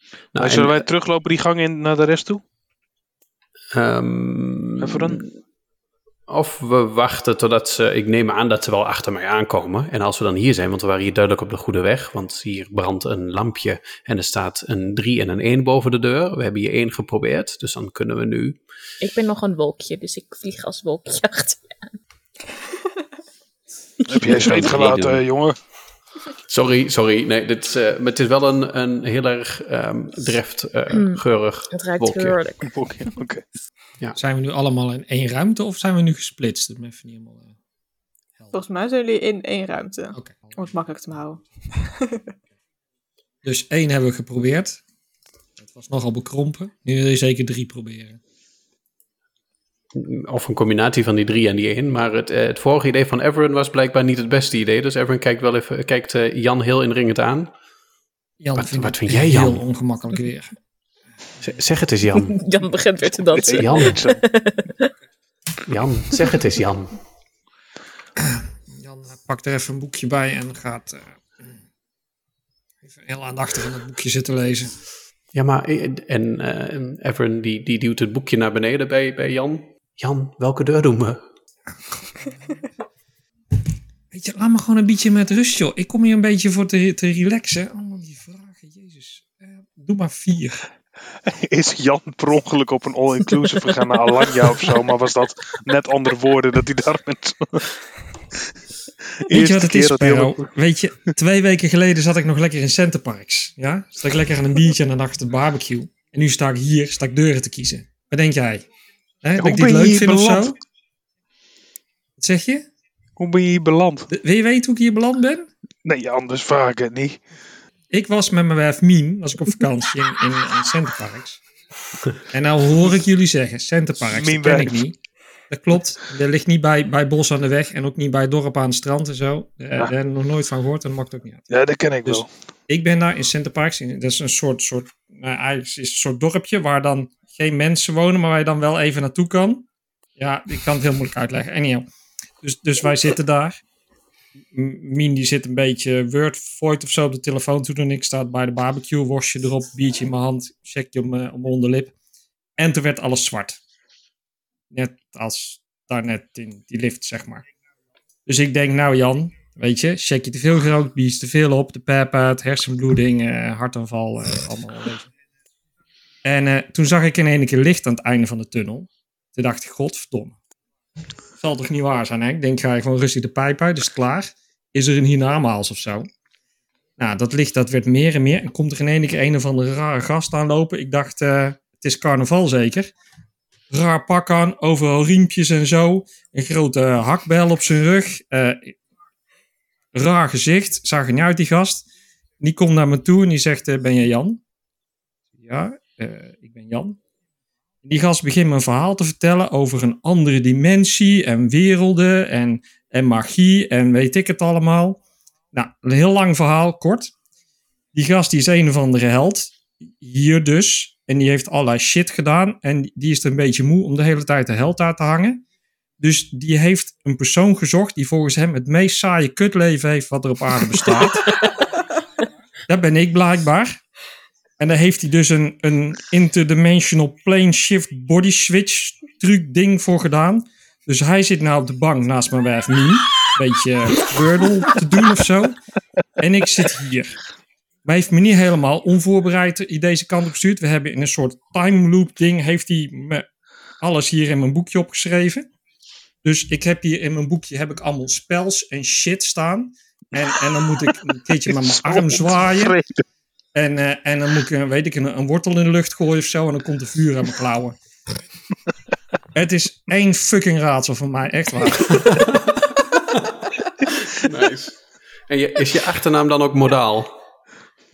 Nou,
Maar zullen
en,
wij teruglopen die gang in naar de rest toe?
ehm,
Even dan?
Of we wachten totdat ze... Ik neem aan dat ze wel achter mij aankomen. En als we dan hier zijn, want we waren hier duidelijk op de goede weg. Want hier brandt een lampje en er staat een 3 en een 1 boven de deur. We hebben hier 1 geprobeerd, dus dan kunnen we nu...
Ik ben nog een wolkje, dus ik vlieg als wolkje achter.
Heb jij scheet gelaten,
doen.
eh, jongen?
Sorry, sorry. Nee, dit is, eh, maar het is wel een, een heel erg ehm dreft, eh, geurig
Het ruikt
wolkje.
heerlijk.
Oké. oké.
Zijn we nu allemaal in één ruimte of zijn we nu gesplitst? Dat ben ik even niet helemaal eh, helder.
Volgens mij zijn jullie in één ruimte,
Oké.
om
Oh.
het makkelijk te houden.
Dus één hebben we geprobeerd. Dat was nogal bekrompen. Nu wil je zeker drie proberen.
Of een combinatie van die drie en die één. Maar het, eh, het vorige idee van Everin was blijkbaar niet het beste idee. Dus Everin kijkt, wel even, kijkt eh, Jan heel indringend aan.
Jan
Wat-
vindt
wat
het
vind jij, Jan?
Heel ongemakkelijk weer.
Z- zeg het eens, Jan.
Jan begint weer te dansen.
Jan. Jan, zeg het eens, Jan.
Jan eh, pakt er even een boekje bij en gaat eh, even heel aandachtig in het boekje zitten lezen.
Ja, maar eh, en eh, en Everin die, die duwt het boekje naar beneden bij, bij Jan. Jan, welke deur doen we?
Weet je, laat me gewoon een beetje met rust, joh. Ik kom hier een beetje voor te, te relaxen. Allemaal die vragen, jezus. Eh, doe maar vier.
Is Jan per ongeluk op een all-inclusive gegaan naar Alanya of zo? Maar was dat net andere woorden dat hij daar met...
Weet je wat het is,
Perro?
Perro? Weet je, twee weken geleden zat ik nog lekker in Centerparks. Ja? Zat ik lekker aan een biertje en dan achter de barbecue. En nu sta ik hier, sta ik deuren te kiezen. Wat denk jij? Hè, dat
hoe
ik dit
ben je
leuk
hier
vind of zo?
beland?
Wat zeg je?
Hoe ben je hier beland?
De- wil je weten hoe ik hier beland ben?
Nee, anders vraag ik het niet.
Ik was met mijn wijf Mien, was ik op vakantie in, in, in Centerparks. En nou hoor ik jullie zeggen, Centerparks, dat
Mien
ken
wijf.
ik niet. Dat klopt, dat ligt niet bij, bij Bos aan de weg en ook niet bij het dorp aan het strand en zo. Eh,
Ja.
Daar heb ik nog nooit van gehoord en dat maakt ook niet uit.
Ja, dat ken ik
Dus-
wel.
Ik ben daar in Centerparks, in, dat is een soort, soort, nou, eigenlijk is het een soort dorpje waar dan geen mensen wonen, maar waar je dan wel even naartoe kan. Ja, ik kan het heel moeilijk uitleggen. Anyhow, dus, dus wij zitten daar. M- Mien die zit een beetje Word void of zo op de telefoon toe en ik sta bij de barbecue, worstje erop, biertje in mijn hand, checkje om, eh, om mijn onderlip. En toen werd alles zwart. Net als daarnet in die lift, zeg maar. Dus ik denk, nou Jan, weet je, check je te veel gerookt, bier is te veel op, de pep uit, hersenbloeding, eh, hartaanval, eh, allemaal wel wezen. En eh, toen zag ik in één keer licht aan het einde van de tunnel. Toen dacht ik, godverdomme. Zal toch niet waar zijn, hè? Ik denk, ga je gewoon rustig de pijp uit, is het klaar. Is er een hiernamaals of zo? Nou, dat licht, dat werd meer en meer. En komt er in één keer een of andere rare gast aanlopen. Ik dacht, eh, het is carnaval zeker. Raar pak aan, overal riempjes en zo. Een grote hakbel op zijn rug. Eh, raar gezicht. Zag er niet uit, die gast. Die komt naar me toe en die zegt: eh, Ben jij Jan? Ja, eh, ik ben Jan. Die gast begint me een verhaal te vertellen over een andere dimensie en werelden en, en magie en weet ik het allemaal. Nou, een heel lang verhaal, kort. Die gast die is een of andere held. Hier dus. En die heeft allerlei shit gedaan. En die is er een beetje moe om de hele tijd de held aan te hangen. Dus die heeft een persoon gezocht die volgens hem het meest saaie kutleven heeft wat er op aarde bestaat. dat ben ik blijkbaar. En daar heeft hij dus een, een interdimensional plane shift body switch truc ding voor gedaan. Dus hij zit nou op de bank naast mijn wijf Mien. Een beetje eh, Wordle te doen of zo. En ik zit hier. Maar heeft me niet helemaal onvoorbereid i- deze kant op gestuurd. We hebben in een soort time loop ding, heeft hij me alles hier in mijn boekje opgeschreven. Dus ik heb hier in mijn boekje heb ik allemaal spels en shit staan. En, en dan moet ik een keertje met mijn arm zwaaien. En, eh, en dan moet ik, eh, weet ik, een, een wortel in de lucht gooien of zo. En dan komt er vuur aan mijn klauwen. het is één fucking raadsel van mij, echt waar.
Nice. En je, is je achternaam dan ook modaal? Oké.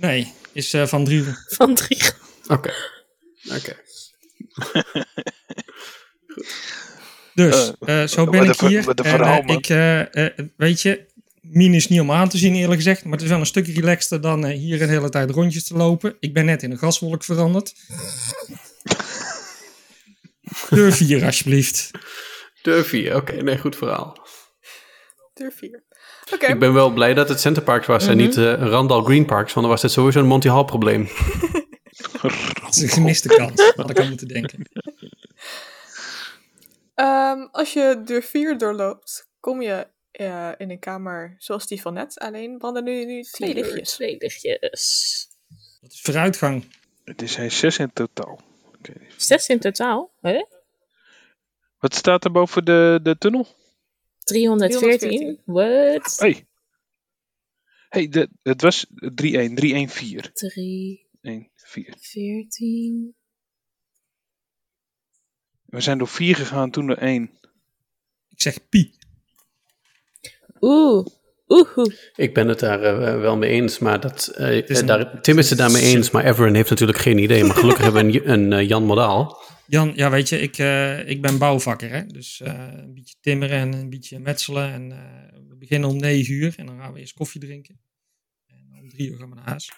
Nee, is eh, van Drieven.
Van drie.
Oké.
Dus, eh, zo ben
wat
ik
een ver-
hier.
wat een
en, eh,
verhaal, man.
ik, eh, eh, weet je, Mien is niet om aan te zien eerlijk gezegd. Maar het is wel een stuk relaxter dan eh, hier een hele tijd rondjes te lopen. Ik ben net in een gaswolk veranderd. Deur 4, alsjeblieft.
Deur 4, oké. Nee, goed verhaal.
Deur 4. Oké,
Ik ben wel blij dat het Centerparks was en niet eh, Randall Green Parks, want dan was dit sowieso een Monty Hall probleem.
Het is een gemiste kans, had ik aan moeten denken.
ehm, als je deur 4 doorloopt, kom je eh, in een kamer zoals die van net. Alleen branden nu, nu twee lichtjes.
Twee lichtjes.
Dat is vooruitgang.
Het is zijn zes in totaal. Oké.
Zes in totaal. Hè?
Wat staat er boven de, de tunnel?
314. What?
Hey. Hey, de, het was 3-1, 3-1-4.
3,
1, 4.
14.
We zijn door 4 gegaan, toen door 1.
Ik zeg pie.
Oeh. Oeh.
Ik ben het daar eh, wel mee eens, maar dat, eh,
is een-
daar, Tim is het daarmee eens, maar Everin heeft natuurlijk geen idee. Maar gelukkig hebben we een, een eh, Jan Modaal.
Jan, ja, weet je, ik, eh, ik ben bouwvakker. Hè? Dus eh, een beetje timmeren en een beetje metselen. En eh, we beginnen om negen uur en dan gaan we eerst koffie drinken. En om drie uur gaan we naar huis.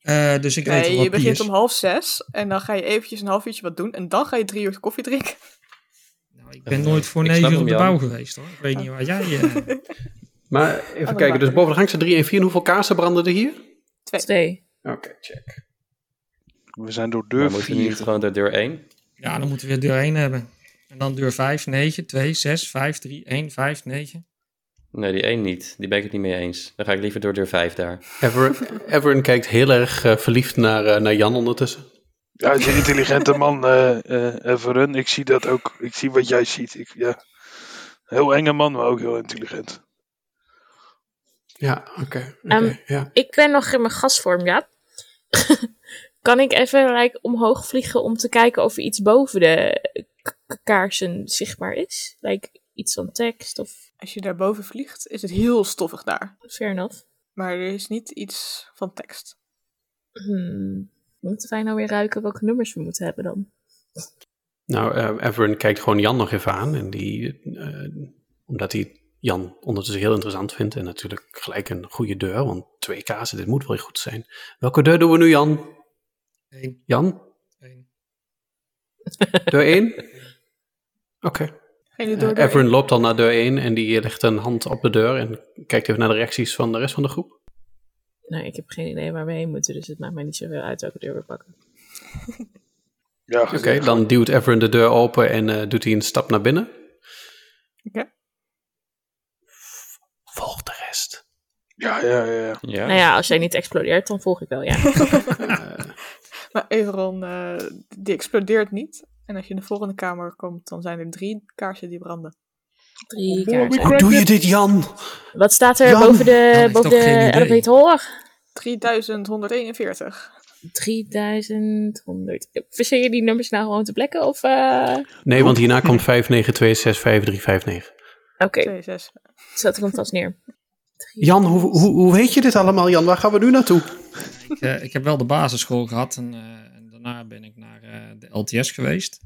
Eh, dus ik weet wel
Nee,
wat
je
pie
begint
is.
om half zes en dan ga je eventjes een half uurtje wat doen en dan ga je drie uur koffie drinken.
Nou, ik ben nooit voor
Ik
negen
snap
uur op
hem,
de
Jan.
bouw geweest hoor. Ik weet niet waar jij... eh,
Maar even kijken, dus
bakker.
boven de hangste 3 en 4, hoeveel kaarsen branden er hier?
Twee.
Oké, check.
We zijn door
Maar
deur
moet je niet
4.
gewoon door deur 1?
ja, dan moeten we weer deur 1 hebben. En dan deur 5, 9, 2, 6, 5, 3, 1, 5, 9.
Nee, die 1 niet. Die ben ik het niet mee eens. Dan ga ik liever door deur 5 daar.
Everin, Everin kijkt heel erg eh, verliefd naar, eh, naar Jan ondertussen.
Ja, hij is een intelligente man, eh eh, Everun. Ik zie dat ook. Ik zie wat jij ziet. Ik, ja. Heel enge man, maar ook heel intelligent.
Ja, oké. oké,
Ehm,
ja.
Ik ben nog in mijn gasvorm, ja. kan ik even like, omhoog vliegen om te kijken of er iets boven de k- k- kaarsen zichtbaar is? Like iets van tekst of
Als je daarboven vliegt, is het heel stoffig daar.
fair enough.
Maar er is niet iets van tekst.
Hmm. Moeten wij nou weer ruiken welke nummers we moeten hebben dan?
Nou, eh, Everin kijkt gewoon Jan nog even aan. En die, eh, omdat hij Jan ondertussen heel interessant vindt. En natuurlijk gelijk een goede deur, want twee kazen, dit moet wel goed zijn. Welke deur doen we nu, Jan?
1,
Jan?
1.
Deur 1? Oké.
Ga je nu door?
Eh,
deur
Everin loopt al naar deur 1 en die legt een hand op de deur en kijkt even naar de reacties van de rest van de groep.
Nou, ik heb geen idee waar we heen moeten, dus het maakt mij niet zoveel uit welke deur we pakken.
Ja,
Oké, dan duwt Everin de deur open en eh, doet hij een stap naar binnen.
Oké.
Volg de rest.
ja, ja, ja. ja.
Ja.
Nou ja, als jij niet explodeert, dan volg ik wel, ja.
Eh,
één? Maar Everon, eh, die explodeert niet. En als je in de volgende kamer komt, dan zijn er drie kaarsen die branden.
Drie kaarsen.
Hoe doe je dit, Jan?
Wat staat er
Jan!
boven
Jan
de,
heeft
boven
toch geen
de
idee?
elevator?
3141.
3100. Verzin je die nummers nou gewoon te plekken? Of, eh,
Nee, want hierna komt 592655359.
Oké,
26.
zet er hem vast neer.
Jan, hoe, hoe, hoe weet je dit allemaal, Jan? Waar gaan we nu naartoe?
Ik, eh, ik heb wel de basisschool gehad en, eh, en daarna ben ik naar eh, de LTS geweest.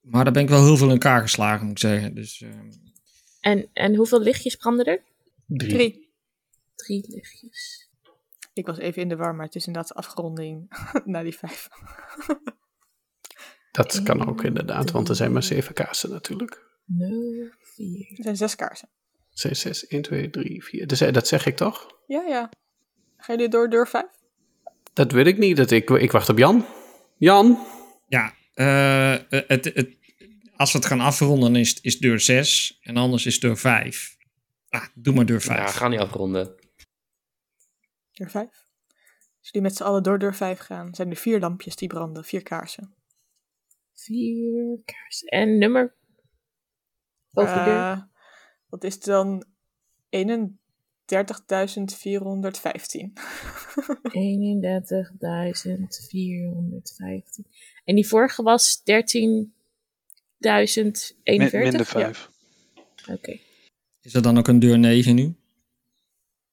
Maar daar ben ik wel heel veel in elkaar geslagen, moet ik zeggen. Dus ehm,
En, en hoeveel lichtjes branden er?
Drie.
Drie luchtjes.
Ik was even in de war, maar het is inderdaad afgronding naar die vijf.
Dat kan ook inderdaad, want er zijn maar zeven kaarsen natuurlijk.
Nul, vier.
Er zijn zes kaarsen.
6, 6, 1, 2, 3, 4. Dus, eh, dat zeg ik toch?
Ja, ja. Gaan jullie door deur vijf?
Dat weet ik niet. Dat ik, ik wacht op Jan. Jan?
Ja, eh, het, het, als we het gaan afronden is, is deur 6 en anders is deur 5. Ah, doe maar deur 5.
Ja, ga niet afronden.
Deur vijf. Als jullie met z'n allen door deur vijf gaan, zijn er vier lampjes die branden, vier kaarsen.
Vier kaarsen. En nummer? Boven de deur.
Eh, dat is dan 31.415.
31.415. En die vorige was 13.041?
Min- minder
Ja,
5.
Oké.
Is er dan ook een deur 9 nu?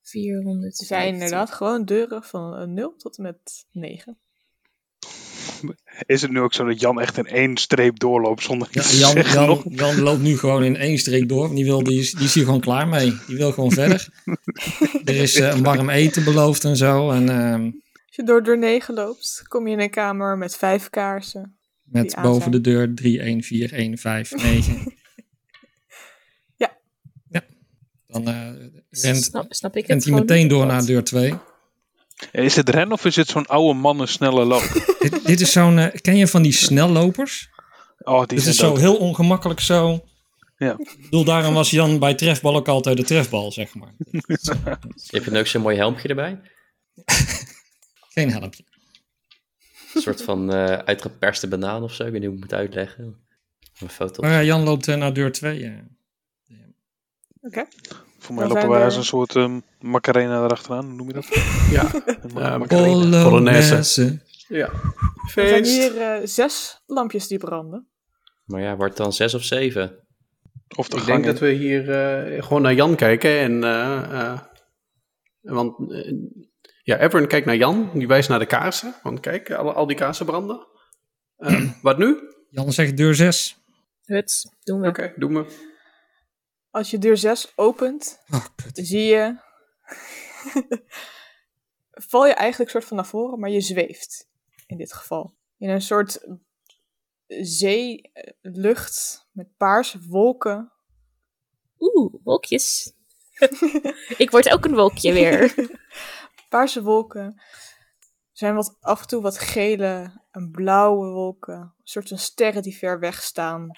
400.
Ze zijn inderdaad gewoon deuren van eh, 0 tot en met 9.
Is het nu ook zo dat Jan echt in één streep doorloopt zonder
Ja,
iets te
Jan,
zeggen?
Jan,
nog?
Jan loopt nu gewoon in één streek door. want Die, wil, die, is, die is hier gewoon klaar mee. Die wil gewoon verder. er is eh, een warm eten beloofd en zo. En ehm,
Als je door deur 9 loopt, kom je in een kamer met vijf kaarsen.
met
Die aan
boven
zijn.
de deur 3, 1, 4, 1, 5, 9.
Ja.
Ja. Dan eh, rent,
Snap, snap ik het
rent hij
gewoon
meteen
niet?
door naar deur 2.
Is het ren of is het zo'n oude mannen snelle loop?
dit, dit is zo'n... eh, ken je van die snellopers?
Oh, die
Dit
zijn
is zo
dood.
heel ongemakkelijk zo.
Ja.
Ik bedoel, daarom was Jan bij trefbal ook altijd de trefbal, zeg maar.
Heb je dan ook zo'n mooi helmpje erbij?
Geen helpje.
Een soort van eh, uitgeperste banaan of zo. Ik weet niet hoe ik het moet uitleggen. Een foto.
Maar ja, Jan loopt eh, naar deur 2.
Voor mij
Dan
lopen
zijn
wij
er-
als een soort ehm, Macarena erachteraan, hoe noem je dat?
Ja.
Een ma-
Eh,
Macarena.
Polonaise.
Polonaise.
Ja.
Er zijn
Feest.
hier eh, zes lampjes die branden.
Maar ja, wordt dan zes of zeven.
Of de
Ik
gang
denk
in.
dat we hier eh, gewoon naar Jan kijken. En, eh, eh, want eh, ja, Everin kijkt naar Jan. Die wijst naar de kaarsen. Want kijk, al, al die kaarsen branden. Eh, wat nu? Oké,
Jan zegt deur 6.
Huts, doen we.
doen we.
Als je deur 6 opent,
Oh, kut.
zie je. val je eigenlijk soort van naar voren, maar je zweeft. In dit geval. In een soort eh, zeelucht met paarse wolken.
Oeh, wolkjes. ik word ook een wolkje weer.
Paarse wolken. Er zijn wat, af en toe wat gele en blauwe wolken. Een soort van sterren die ver weg staan.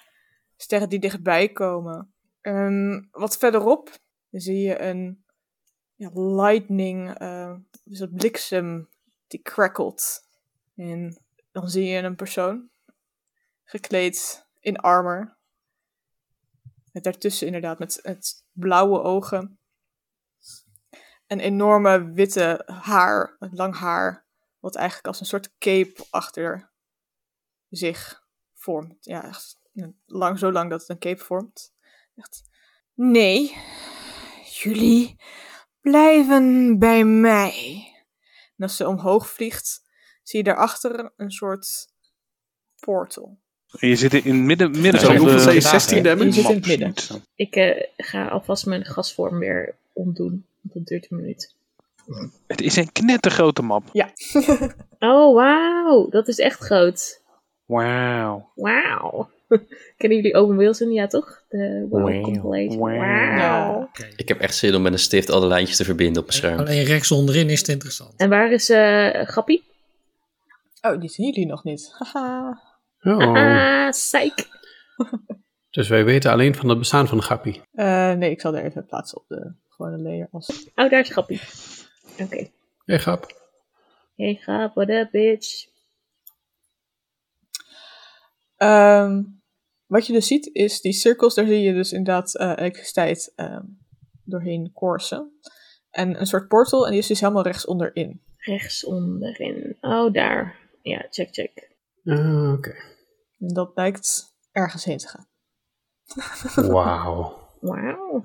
Sterren die dichtbij komen. Ehm, wat verderop zie je een ja, lightning, eh, dus dat bliksem die crackelt. En dan zie je een persoon gekleed in armor. Met daartussen inderdaad met, met blauwe ogen een enorme witte haar, een lang haar, wat eigenlijk als een soort cape achter zich vormt. Ja, echt lang, zo lang dat het een cape vormt. Echt. Nee, jullie blijven bij mij. En als ze omhoog vliegt, zie je daarachter een soort portal.
En je zit in het midden, midden
Zo,
van
hoeveel zei je?
de...
vandaag,
16
hè?
damage?
Je zit in het midden.
ik eh, ga alvast mijn gasvorm weer omdoen. Want dat duurt een minuut.
Het is een knettergrote map.
Ja.
Oh, wauw. Dat is echt groot.
Wauw.
Wauw. Kennen jullie Owen Wilson? Ja, toch? De Wow Compilation.
Wauw.
Wauw.
Ik heb echt zin om met een stift alle lijntjes te verbinden op mijn scherm.
Alleen rechts onderin is het interessant.
En waar is eh Grappie?
Oh, die zien jullie nog niet. Haha.
Oh.
Ah, psych.
Dus wij weten alleen van het bestaan van Gappie.
Eh, nee, ik zal er even plaatsen op de gewone layer. Als...
Oh, daar is Grappie. Oké.
Hey, Gap.
Hey, Grap, what up, bitch?
Ehm, wat je dus ziet is die cirkels, daar zie je dus inderdaad eh, elektriciteit ehm, doorheen koersen. En een soort portal, en die is dus helemaal rechts onderin.
Rechts onderin. Oh, daar. Ja, check, check.
Ah, Oké.
En dat lijkt ergens heen te gaan.
Wauw.
Wauw.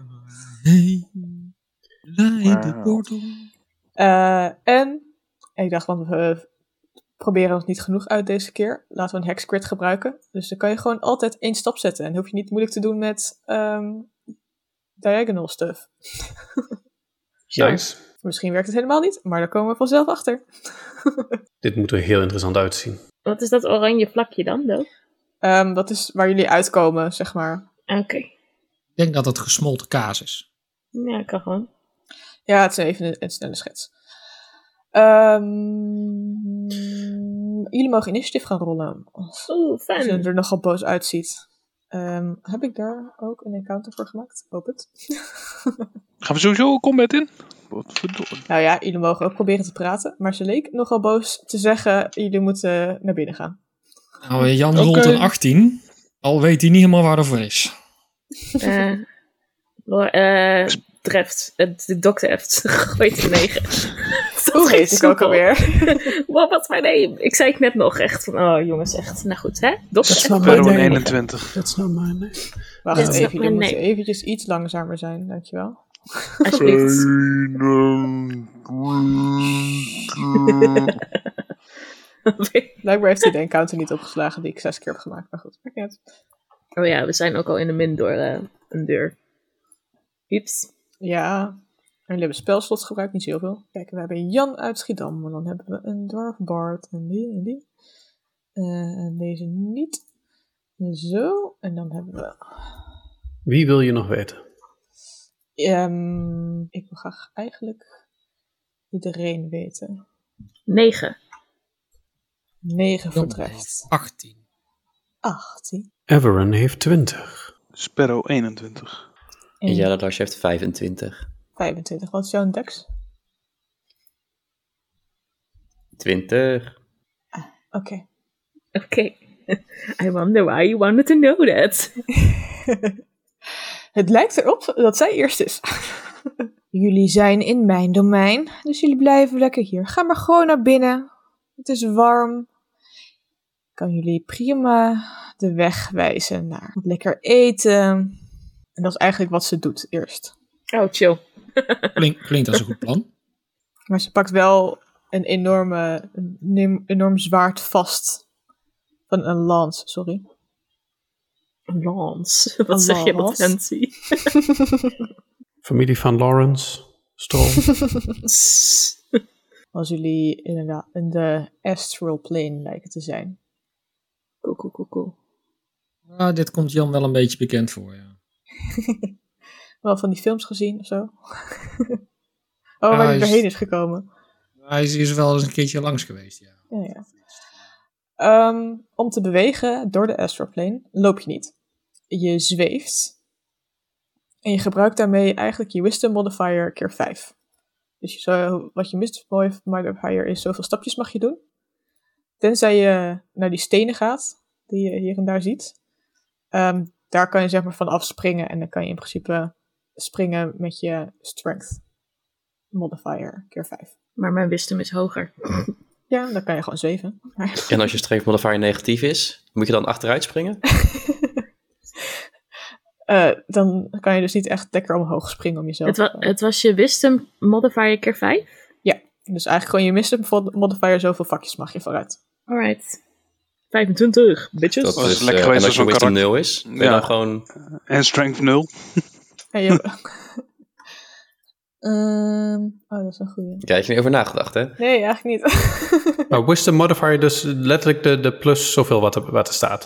Hey, leid de
Wauw.
portal.
Eh, en ik dacht, want we proberen ons niet genoeg uit deze keer. Laten we een hexcrit gebruiken. Dus dan kan je gewoon altijd één stap zetten. En hoef je niet moeilijk te doen met ehm, diagonal stuff.
Sure.
Nice.
Misschien werkt het helemaal niet, maar daar komen we vanzelf achter.
Dit moet er heel interessant uitzien.
Wat is dat oranje vlakje dan, Doop?
Ehm, dat is waar jullie uitkomen, zeg maar.
Oké.
Ik denk dat het gesmolten kaas is.
Ja, kan gewoon.
Ja, het is even een, een snelle schets. Ehm, jullie mogen initiatief gaan rollen. Als
Oeh,
ze
fijn.
er nogal boos uitziet. Ehm, heb ik daar ook een encounter voor gemaakt? Hoop het.
Gaan we sowieso combat in? Wat verdorie.
nou ja, jullie mogen ook proberen te praten. Maar ze leek nogal boos te zeggen: jullie moeten naar binnen gaan.
Nou, Jan
Oké.
rolt een 18. Al weet hij niet helemaal waar dat voor is.
Eh, Lo- eh, treft. Eh, de dokter heeft gegooid een negen. Dat
Hoe
ging
heet ik ook
soepel.
alweer?
Wow, wat mijn name? Ik zei het net nog echt van, oh jongens, echt. Nou goed, hè? Dokter.
Dat is wel
echt.
mijn
Perron
name.
21.
That's not my name.
Wacht
Dit is
even,
nog
jullie
mijn
moeten
name.
eventjes iets langzamer zijn, dankjewel.
Alsjeblieft.
Blijkbaar heeft hij de encounter niet opgeslagen die ik zes keer heb gemaakt, maar goed. maakt niet uit.
Oh ja, we zijn ook al in de min door eh, een deur. Hups.
Ja, en jullie hebben spelslots gebruikt, niet zo heel veel. Kijk, we hebben Jan uit Schiedam, maar dan hebben we een dwarfbard en die en die. Eh, en deze niet. Zo, en dan hebben we...
Wie wil je nog weten?
Ehm, ik wil graag eigenlijk iedereen weten.
9.
9
Jan
vertrekt.
heeft 18.
18.
Everon heeft 20.
Sparrow 21.
En
En
Jelle Lars heeft 25.
25. Wat is jouw dex?
20.
Oké.
Oké. I wonder why you wanted to know that.
Het lijkt erop dat zij eerst is. jullie zijn in mijn domein, dus jullie blijven lekker hier. Ga maar gewoon naar binnen. Het is warm. Ik Kan jullie prima de weg wijzen naar wat lekker eten. En dat is eigenlijk wat ze doet eerst.
Oh, chill.
Klink, klinkt als een goed plan.
Maar ze pakt wel een, enorme, een neem- enorm zwaard vast. Van een lans, sorry.
Lance. Wat zeg je wat
Lance.
fancy?
Familie van Lawrence. Stroll.
Als jullie inderdaad in de astral plane lijken te zijn.
Cool, cool, cool, cool.
Ah, dit komt Jan wel een beetje bekend voor, ja.
wel van die films gezien of zo. oh, waar
hij
hij
is-
doorheen is gekomen.
Hij is, is wel eens een keertje langs geweest, ja.
Ja, ja. Ehm, om te bewegen door de astroplane loop je niet. Je zweeft. En je gebruikt daarmee eigenlijk je wisdom modifier keer 5. Dus je zou, wat je wisdom modifier is, zoveel stapjes mag je doen. Tenzij je naar die stenen gaat, die je hier en daar ziet. Ehm, daar kan je zeg maar van afspringen en dan kan je in principe springen met je strength modifier keer 5.
Maar mijn wisdom is hoger.
Ja, dan kan je gewoon zweven. Maar-
En als je strength modifier negatief is, moet je dan achteruit springen?
Eh, dan kan je dus niet echt lekker omhoog springen om jezelf.
Het, wa-
eh,
het was je wisdom modifier keer 5?
Dus eigenlijk gewoon je mist mod- modifier zoveel vakjes mag je vooruit.
Alright. 25, bitches.
was lekker
eh,
geweest
en
als
als je wisdom
een karakter.
0 is, ben je
Ja.
dan gewoon...
En strength 0.
En je... Ehm, oh, dat is een goede.
Kijk, je niet over nagedacht, hè?
Nee, eigenlijk niet.
Maar Nou, wisdom modifier dus letterlijk de, de plus zoveel wat er, wat er staat.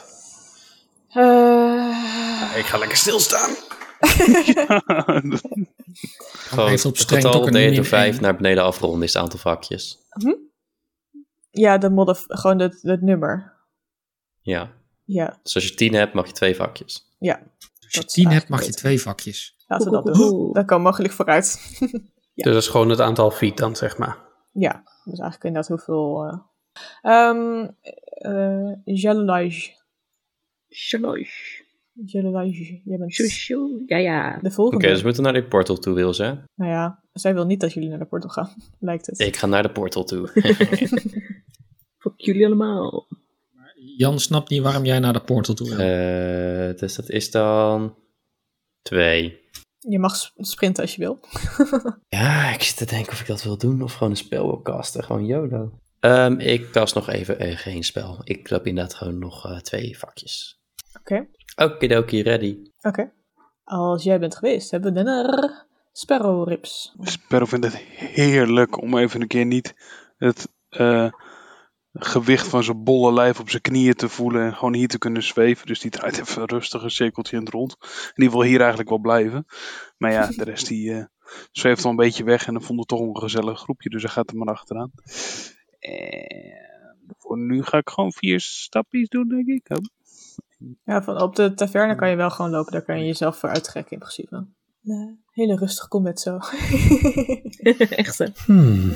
Eh,
Ik ga lekker stilstaan.
Gewoon
heeft op
het
strength
getal
ook een
deed door
min
5
één.
naar beneden afronden is het aantal vakjes.
ja, de modif gewoon het, het nummer.
Ja.
Ja,
Dus als je 10 hebt, mag je twee vakjes.
Als
Dat
je
is
10 hebt,
eigenlijk
mag je
beter.
twee vakjes.
laten we dat
Oeh, oeh,
doen.
oeh.
Dan kan mogelijk vooruit. Ja.
Dus dat is gewoon het aantal feet dan, zeg maar.
ja, dus eigenlijk inderdaad heel veel. eh Ehm eh Jalolage.
Sjosh.
Jalolage, jij bent
Sjosh. Ja, ja.
de
Oké,
volgende.
dus we moeten naar die portal toe, Wils, hè?
Nou ja, zij wil niet dat jullie naar de portal gaan, lijkt het.
Ik ga naar de portal toe.
Fuck jullie allemaal.
Jan snapt niet waarom jij naar de portal toe wil.
Eh, dus dat is dan... Twee.
Je mag sp- sprinten als je wil.
Ja, ik zit te denken of ik dat wil doen of gewoon een spel wil casten. Gewoon YOLO. Ehm, ik cast nog even eh, geen spel. Ik loop inderdaad gewoon nog eh, twee vakjes.
Oké.
Okidoki, ready.
Oké. Als jij bent geweest, hebben we een
Sparrow ribs.
Sparrow vindt het heerlijk om even een keer niet het eh, gewicht van zijn bolle lijf op zijn knieën te voelen en gewoon hier te kunnen zweven. Dus die draait even rustig een cirkeltje in het rond. En die wil hier eigenlijk wel blijven. Maar ja, de rest die eh, zweeft al een beetje weg en dan vond het toch een gezellig groepje, dus hij gaat er maar achteraan. En voor nu ga ik gewoon vier stapjes doen, denk ik. Hup.
Ja, van op de taverne kan je wel gewoon lopen. Daar kan je jezelf voor uittrekken in principe. Ja, hele rustig combat zo.
Echt hè?
Hmm.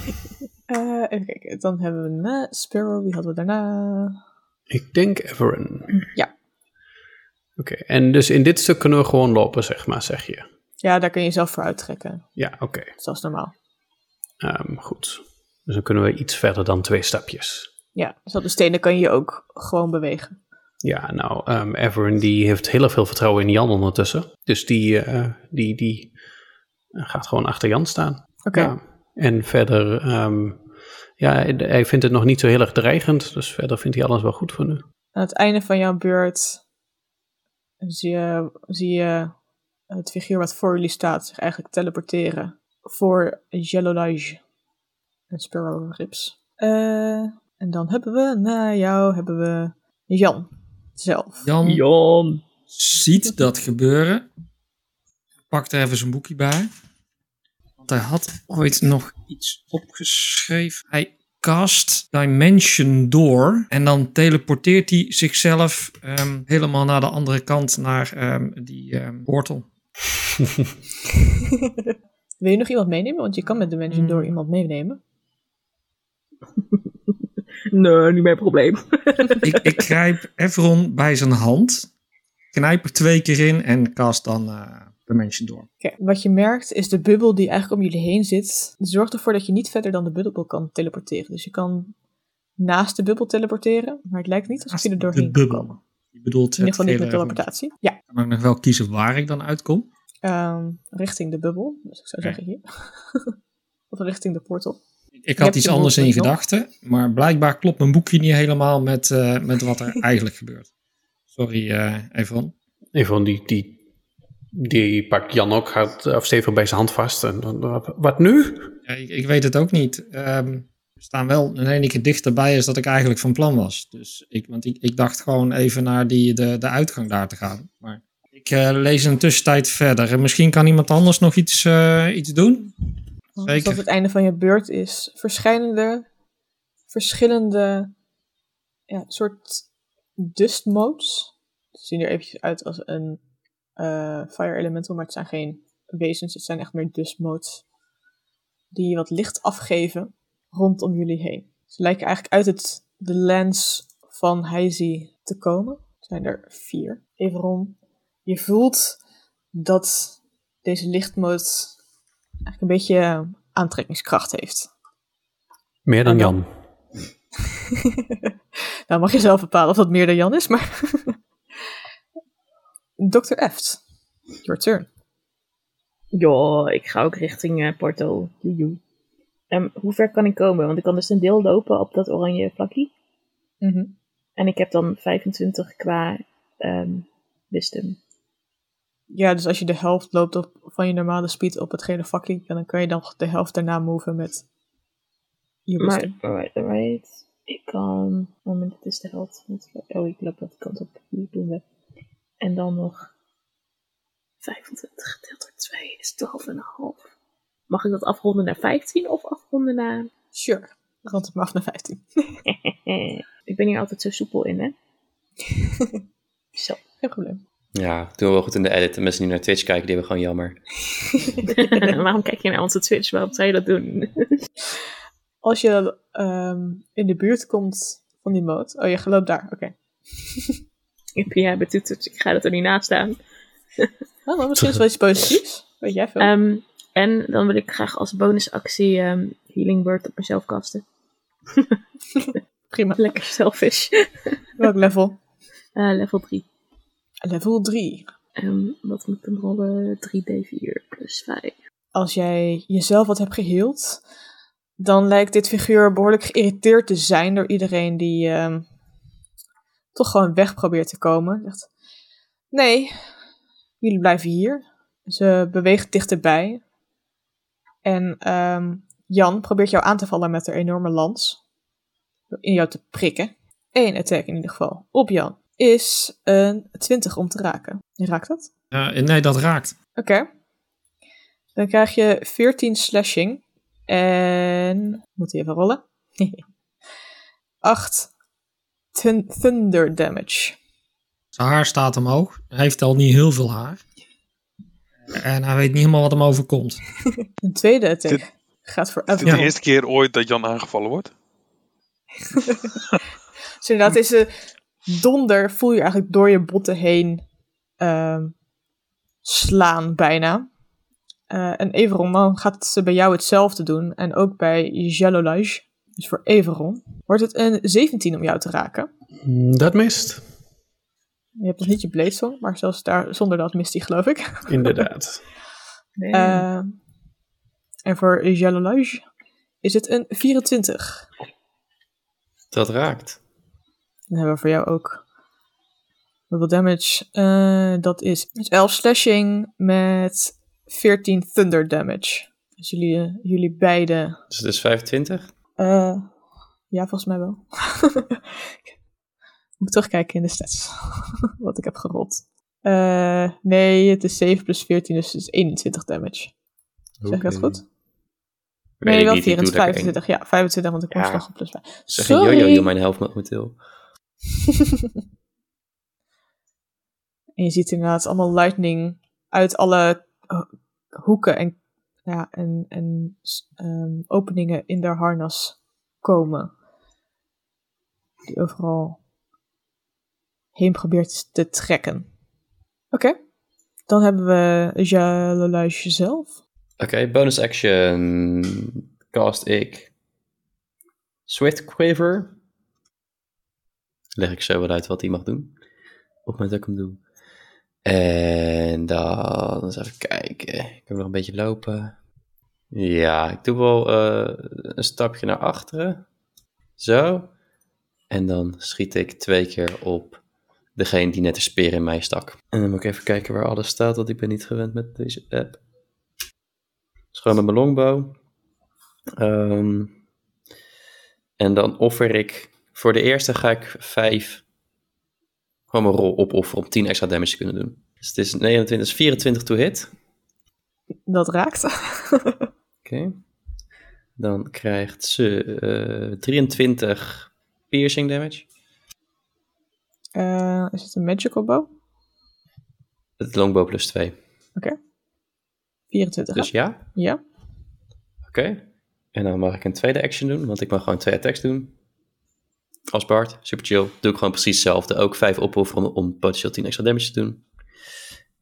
Eh, even kijken. Dan hebben we na Sparrow. Wie hadden we daarna?
Ik denk Everin.
Ja.
Oké, en dus in dit stuk kunnen we gewoon lopen, zeg maar, zeg je.
Ja, daar kun je jezelf voor uittrekken.
Ja, oké.
Zoals normaal.
Ehm, goed. Dus dan kunnen we iets verder dan twee stapjes.
Ja, dus op de stenen kan je ook gewoon bewegen.
Ja, nou, ehm Everin die heeft heel erg veel vertrouwen in Jan ondertussen. Dus die, eh, die, die eh, gaat gewoon achter Jan staan.
Oké.
Ja. En verder, ehm, ja, hij- hij vindt het nog niet zo heel erg dreigend. Dus verder vindt hij alles wel goed voor nu.
Aan het einde van jouw beurt zie je, zie je het figuur wat voor jullie staat zich eigenlijk teleporteren voor Jelolage en Sparrow Rips. Eh, en dan hebben we, na jou hebben we Jan zelf.
Jan
Jan.
ziet dat gebeuren. Pakt er even zijn boekje bij. Want hij had ooit nog iets opgeschreven. Hij cast Dimension Door. En dan teleporteert hij zichzelf ehm, helemaal naar de andere kant. Naar ehm, die ehm, wortel.
Wil je nog iemand meenemen? Want je kan met Dimension
Hmm.
door iemand meenemen.
Nee, niet mijn probleem.
ik, ik grijp Evron bij zijn hand. Knijp er twee keer in en cast dan eh, Dimension Door.
Oké, Wat je merkt is de bubbel die eigenlijk om jullie heen zit, zorgt ervoor dat je niet verder dan de bubbel kan teleporteren. Dus je kan naast de bubbel teleporteren, maar het lijkt niet alsof Dus je er doorheen
de
kan komen.
bubbel. Je bedoelt
In ieder
het
geval niet met
hele-
teleportatie. Ja,
kan ik nog wel kiezen waar ik dan uitkom.
ehm, richting de bubbel. Dus ik zou
Oké.
zeggen hier. of richting de portal.
Ik
Je
had
hebt
iets
je
anders in
doelpunt nog.
gedachten, maar blijkbaar klopt mijn boekje niet helemaal met, eh, met wat er eigenlijk gebeurt. Sorry, eh Evron.
Even die, die, die pakt Jan ook hard, of stevig bij zijn hand vast. En, dan- wat, wat nu?
Ja, ik, ik weet het ook niet. Ehm, we staan wel een enige dichterbij als dat ik eigenlijk van plan was. Dus ik, want ik, ik dacht gewoon even naar die, de, de uitgang daar te gaan. Maar ik eh, lees in de tussentijd verder. En misschien kan iemand anders nog iets, eh, iets doen.
Als
Zeker.
Oh, dus dat het einde van je beurt is, verschijnen er verschillende ja, soort dust modes. Ze zien er eventjes uit als een eh, fire elemental, maar het zijn geen wezens, het zijn echt meer dust modes. Die wat licht afgeven rondom jullie heen. Ze lijken eigenlijk uit het, de lens van Heizi te komen. Er zijn er vier. Even rond. Je voelt dat deze lichtmode eigenlijk een beetje eh, aantrekkingskracht heeft.
Meer dan
En dan-
Jan.
nou, mag je zelf bepalen of dat meer dan Jan is, maar. Dr. Eft, your turn.
Ja, ik ga ook richting eh, Porto. Joejoe. Ehm, hoe ver kan ik komen? Want ik kan dus een deel lopen op dat oranje vlakje. En ik heb dan 25 qua ehm wisdom.
Ja, dus als je de helft loopt op, van je normale speed op het gele vakje, dan kan je dan de helft daarna moven met. Je
Maar,
wisdom.
alright, alright. Ik kan... Moment, het is de helft. van het- Oh, ik loop dat kant op. Hier doen we. En dan nog... 25 gedeeld door 2 is 12,5. Mag ik dat afronden naar 15 of afronden naar...
Sure. Rond het maar af naar 15.
Eh, ik ben hier altijd zo soepel in, hè? zo.
Geen probleem.
Ja, doen we wel goed in de edit. De mensen die naar Twitch kijken, die hebben gewoon jammer.
Waarom kijk je naar onze Twitch? Waarom zou je dat doen?
Als je ehm, in de buurt komt van die mode. Oh, je loopt daar. Oké.
ik ben ja betoeterd. Ik ga dat er niet naast staan.
Nou, dan misschien is het wel iets positiefs. Weet jij veel?
Ehm, en dan wil ik graag als bonusactie ehm, Healing Word op mezelf kasten.
Prima.
Lekker selfish.
Welk level?
Eh, level 3.
Level 3.
Ehm, wat moet ik dan rollen? 3d4 plus 5.
als jij jezelf wat hebt geheeld, dan lijkt dit figuur behoorlijk geïrriteerd te zijn door iedereen die ehm, toch gewoon weg probeert te komen. Zegt, nee, jullie blijven hier. Ze beweegt dichterbij.
En ehm, Jan probeert jou aan te vallen met haar enorme lans. Door In jou te prikken. Eén attack in ieder geval. Op Jan. Is een 20 om te raken. Raakt dat?
Ja,
eh,
nee, dat raakt.
Oké. Dan krijg je 14 slashing. En. Moet hij even rollen? 8 thunder damage.
Zijn haar staat omhoog. Hij heeft al niet heel veel haar. En hij weet niet helemaal wat hem overkomt.
Een tweede attack
Dit-
gaat voor
Is dit de
Avalon.
eerste keer ooit dat Jan aangevallen wordt?
Dus inderdaad, is een donder voel je eigenlijk door je botten heen ehm, slaan bijna. Eh, en Everon, dan gaat ze bij jou hetzelfde doen. En ook bij Jalolage. Dus voor Everon wordt het een 17 om jou te raken.
Mm, Dat mist.
Je hebt nog niet je Bladesong, maar zelfs daar, zonder dat mist hij, geloof ik.
Inderdaad.
Nee.
Eh, en voor Jalolage is het een 24.
Dat raakt.
Dan hebben we voor jou ook. Hoeveel damage? Eh, dat is dus 11 slashing met 14 thunder damage. Dus jullie, eh, jullie beide.
Dus het is 25.
eh, ja, volgens mij wel. ik moet terugkijken in de stats. Wat ik heb gerold. Eh, nee, het is 7 plus 14, dus het is 21 damage. Zeg ik dat
Oké.
goed?
Weet
nee,
ik
wel
niet, ik doe
24,
lekker één.
25. Ja, 25, want ik
Ja.
was nog een plus bij.
Zeg een
Sorry.
jojo die mijn helft momenteel.
En je ziet inderdaad allemaal lightning uit alle eh, hoeken en, ja, en, en s- ehm, openingen in haar harnas komen. Die overal heen probeert te trekken. Oké. Dan hebben we Jaloluisje zelf.
Oké, bonus action. Cast ik. Swift Quiver. Leg ik zo wel uit wat hij mag doen. Op het moment dat ik hem doe. En dan eens even kijken. Ik heb nog een beetje lopen. Ja, ik doe wel eh, een stapje naar achteren. Zo. En dan schiet ik twee keer op degene die net de speer in mij stak. En dan moet ik even kijken waar alles staat, want ik ben niet gewend met deze app. Dus gewoon met mijn longbow. Ehm, en dan offer ik... Voor de eerste ga ik vijf... Gewoon mijn rol opofferen om 10 extra damage te kunnen doen. Dus het is 29, is 24 to hit.
Dat raakt.
Oké. Dan krijgt ze eh, 23 piercing damage.
Eh, is het een magical bow?
Het longbow plus 2.
24. hè?
Dus ja,
Ja.
oké. En dan mag ik een tweede action doen, want ik mag gewoon twee attacks doen. Als Bart, super chill. Doe ik gewoon precies hetzelfde. Ook vijf opofferen om- om potentieel 10 extra damage te doen.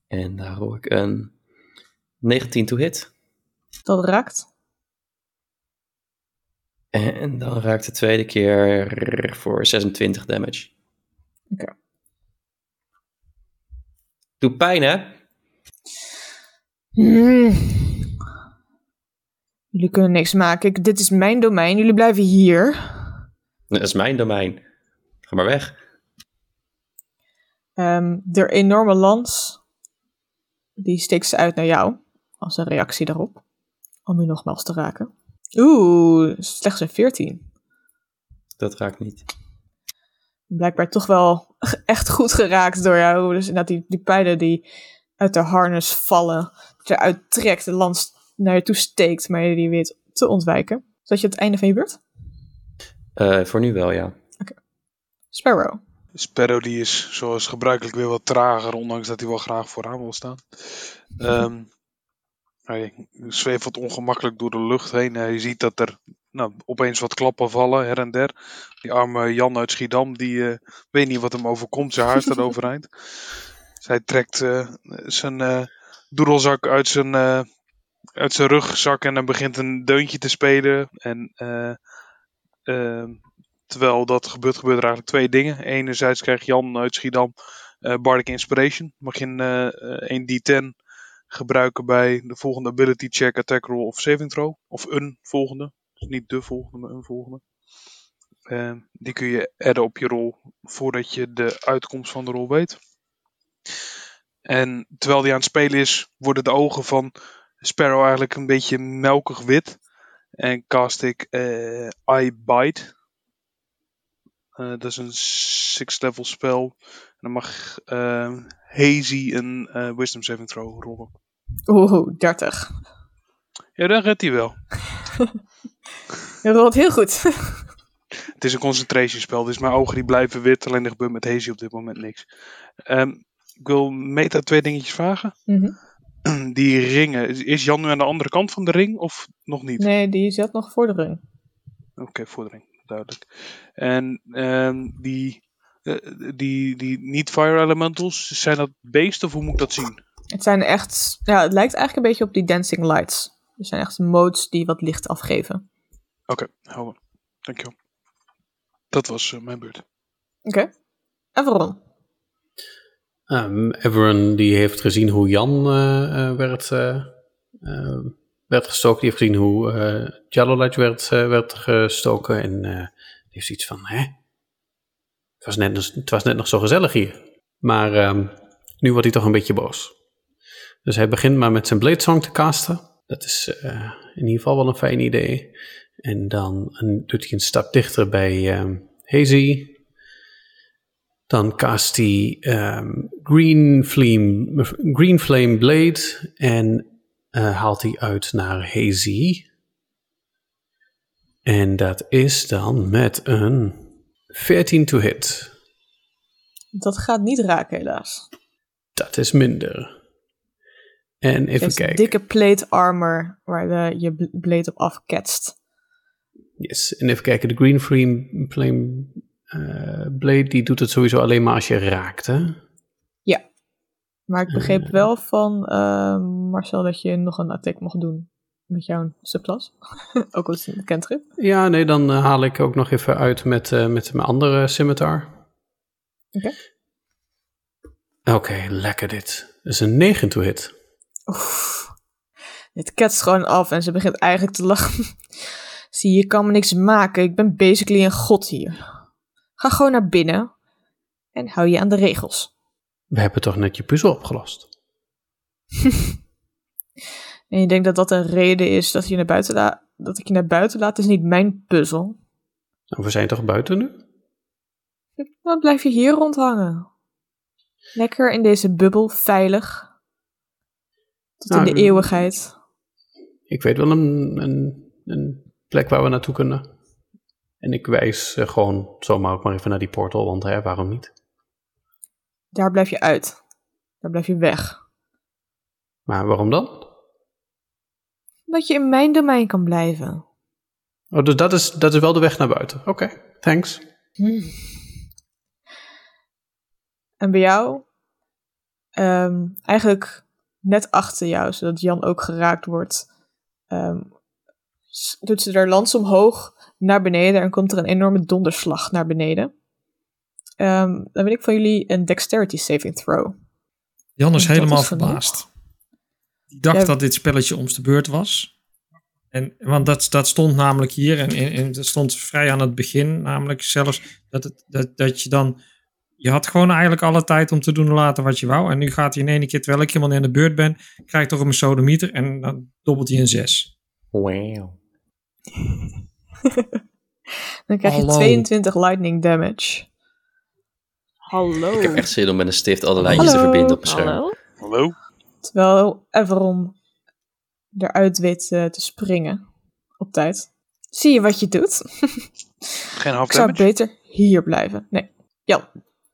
En daar hoor ik een 19 to hit.
Dat raakt.
En dan raakt de tweede keer voor 26 damage.
Oké.
Doe pijn, hè?
Jullie kunnen niks maken. Ik- dit is mijn domein. Jullie blijven hier.
Dat is mijn domein. Ga maar weg.
Ehm de enorme lans, die steekt ze uit naar jou, als een reactie daarop, om je nogmaals te raken. Oeh, slechts een 14.
Dat raakt niet.
Blijkbaar toch wel echt goed geraakt door jou. Dus inderdaad, die, die pijlen die uit haar harnas vallen, die ze eruit trekt, de lans naar je toe steekt, maar je die weet te ontwijken. Is dat je het einde van je beurt?
Eh, voor nu wel, ja.
Sparrow.
Sparrow die is zoals gebruikelijk weer wat trager, ondanks dat hij wel graag vooraan wil staan. Ehm, hij zweeft wat ongemakkelijk door de lucht heen. Hij ziet dat er nou, opeens wat klappen vallen, her en der. Die arme Jan uit Schiedam, die eh, weet niet wat hem overkomt. Zijn haar staat overeind. Dus hij trekt eh, zijn eh, doedelzak uit zijn, eh, uit zijn rugzak en dan begint een deuntje te spelen. En eh, ehm, Terwijl dat gebeurt, gebeurt er eigenlijk twee dingen. Enerzijds krijgt Jan uit Schiedam eh Bardic Inspiration. Mag je een, eh, een D10 gebruiken bij de volgende ability check, attack roll of saving throw. Of een volgende. Dus niet de volgende, maar een volgende. Ehm, die kun je adden op je rol voordat je de uitkomst van de rol weet. En terwijl die aan het spelen is, worden de ogen van Sparrow eigenlijk een beetje melkig wit. En cast ik eh I Bite. Eh, dat is een sixth level spel. En dan mag eh, Hazy een eh, Wisdom Saving Throw rollen.
Oeh, 30.
Ja, dan redt hij wel.
Je rolt heel goed.
Het is een concentratiespel, dus mijn ogen die blijven wit. Alleen er gebeurt met Hazy op dit moment niks. Ehm, ik wil Meta twee dingetjes vragen.
Mhm.
Die ringen. is- Is Jan nu aan de andere kant van de ring of nog niet?
nee, die zat nog voor de ring.
Oké, vordering. Duidelijk. En ehm, die, eh, die, die niet-fire elementals, zijn dat beesten of hoe moet ik dat zien?
Het zijn echt, ja, het lijkt eigenlijk een beetje op die dancing lights. Er zijn echt modes die wat licht afgeven.
Oké, hou maar. Dankjewel. Dat was eh, mijn beurt.
Oké. En waarom?
Ehm Everon die heeft gezien hoe Jan eh, eh, werd, eh, eh, werd gestoken. Die heeft gezien hoe eh Jalolat werd, eh, werd gestoken. En eh, die heeft iets van, hè? Het was, net, nog- het was net nog zo gezellig hier. Maar ehm, nu wordt hij toch een beetje boos. Dus hij begint maar met zijn Blade Song te casten. Dat is eh, in ieder geval wel een fijn idee. En dan een- doet hij een stap dichter bij ehm Hazy. Dan cast hij ehm, Green, Flame, Green Flame Blade en eh, haalt hij uit naar Hazy. En dat is dan met een 14 to hit.
Dat gaat niet raken, helaas.
Dat is minder. En even
Heeft
kijken.
dikke plate armor waar de, je bl- blade op afketst.
Yes. En even kijken, de Green Flame, flame eh, Blade die doet het sowieso alleen maar als je raakt. Hè?
Maar ik begreep wel van eh, Marcel dat je nog een attack mocht doen met jouw subclass. Ook al is het een cantrip.
Ja, nee, dan eh, haal ik ook nog even uit met, eh, met mijn andere scimitar.
Oké.
Oké, lekker dit. Dat is een 9 to hit.
Oef. Het ketst gewoon af en ze begint eigenlijk te lachen. Zie je, je kan me niks maken. Ik ben basically een god hier. Ga gewoon naar binnen en hou je aan de regels.
We hebben toch net je puzzel opgelost?
En je denkt dat dat een reden is dat, je naar buiten la- dat ik je naar buiten laat, is niet mijn puzzel.
Nou, we zijn toch buiten nu?
Dan blijf je hier rondhangen. Lekker in deze bubbel, veilig. Tot
Nou,
in de
eh,
eeuwigheid.
Ik weet wel een, een, een plek waar we naartoe kunnen. En ik wijs eh, gewoon zomaar ook maar even naar die portal, want hè, waarom niet?
Daar blijf je uit. Daar blijf je weg.
Maar waarom dan?
Omdat je in mijn domein kan blijven.
Oh, dus dat is, dat is wel de weg naar buiten. Oké, thanks.
En bij jou? Ehm, eigenlijk net achter jou, zodat Jan ook geraakt wordt. ehm, s- doet ze haar lans omhoog naar beneden en komt er een enorme donderslag naar beneden. Ehm, dan wil ik van jullie een dexterity saving throw.
Jan is
Dat
helemaal
is genoeg.
verbaasd. Die dacht
Ja.
dat dit spelletje om de beurt was. En, want dat, dat stond namelijk hier, en, en, en dat stond vrij aan het begin, namelijk zelfs dat, het, dat, dat je dan. Je had gewoon eigenlijk alle tijd om te doen en laten wat je wou. En nu gaat hij in één keer, terwijl ik helemaal in de beurt ben, krijgt toch een sodemieter en dan dobbelt hij een 6.
Wow.
Dan krijg je
Hallo.
22 lightning damage. Hallo.
Ik heb echt zin om met een stift alle lijntjes te
Hallo.
verbinden op mijn scherm.
Hallo?
Terwijl Everon eruit weet eh, te springen op tijd. Zie je wat je doet?
Geen
Ik
half
zou
damage?
beter hier blijven. Nee.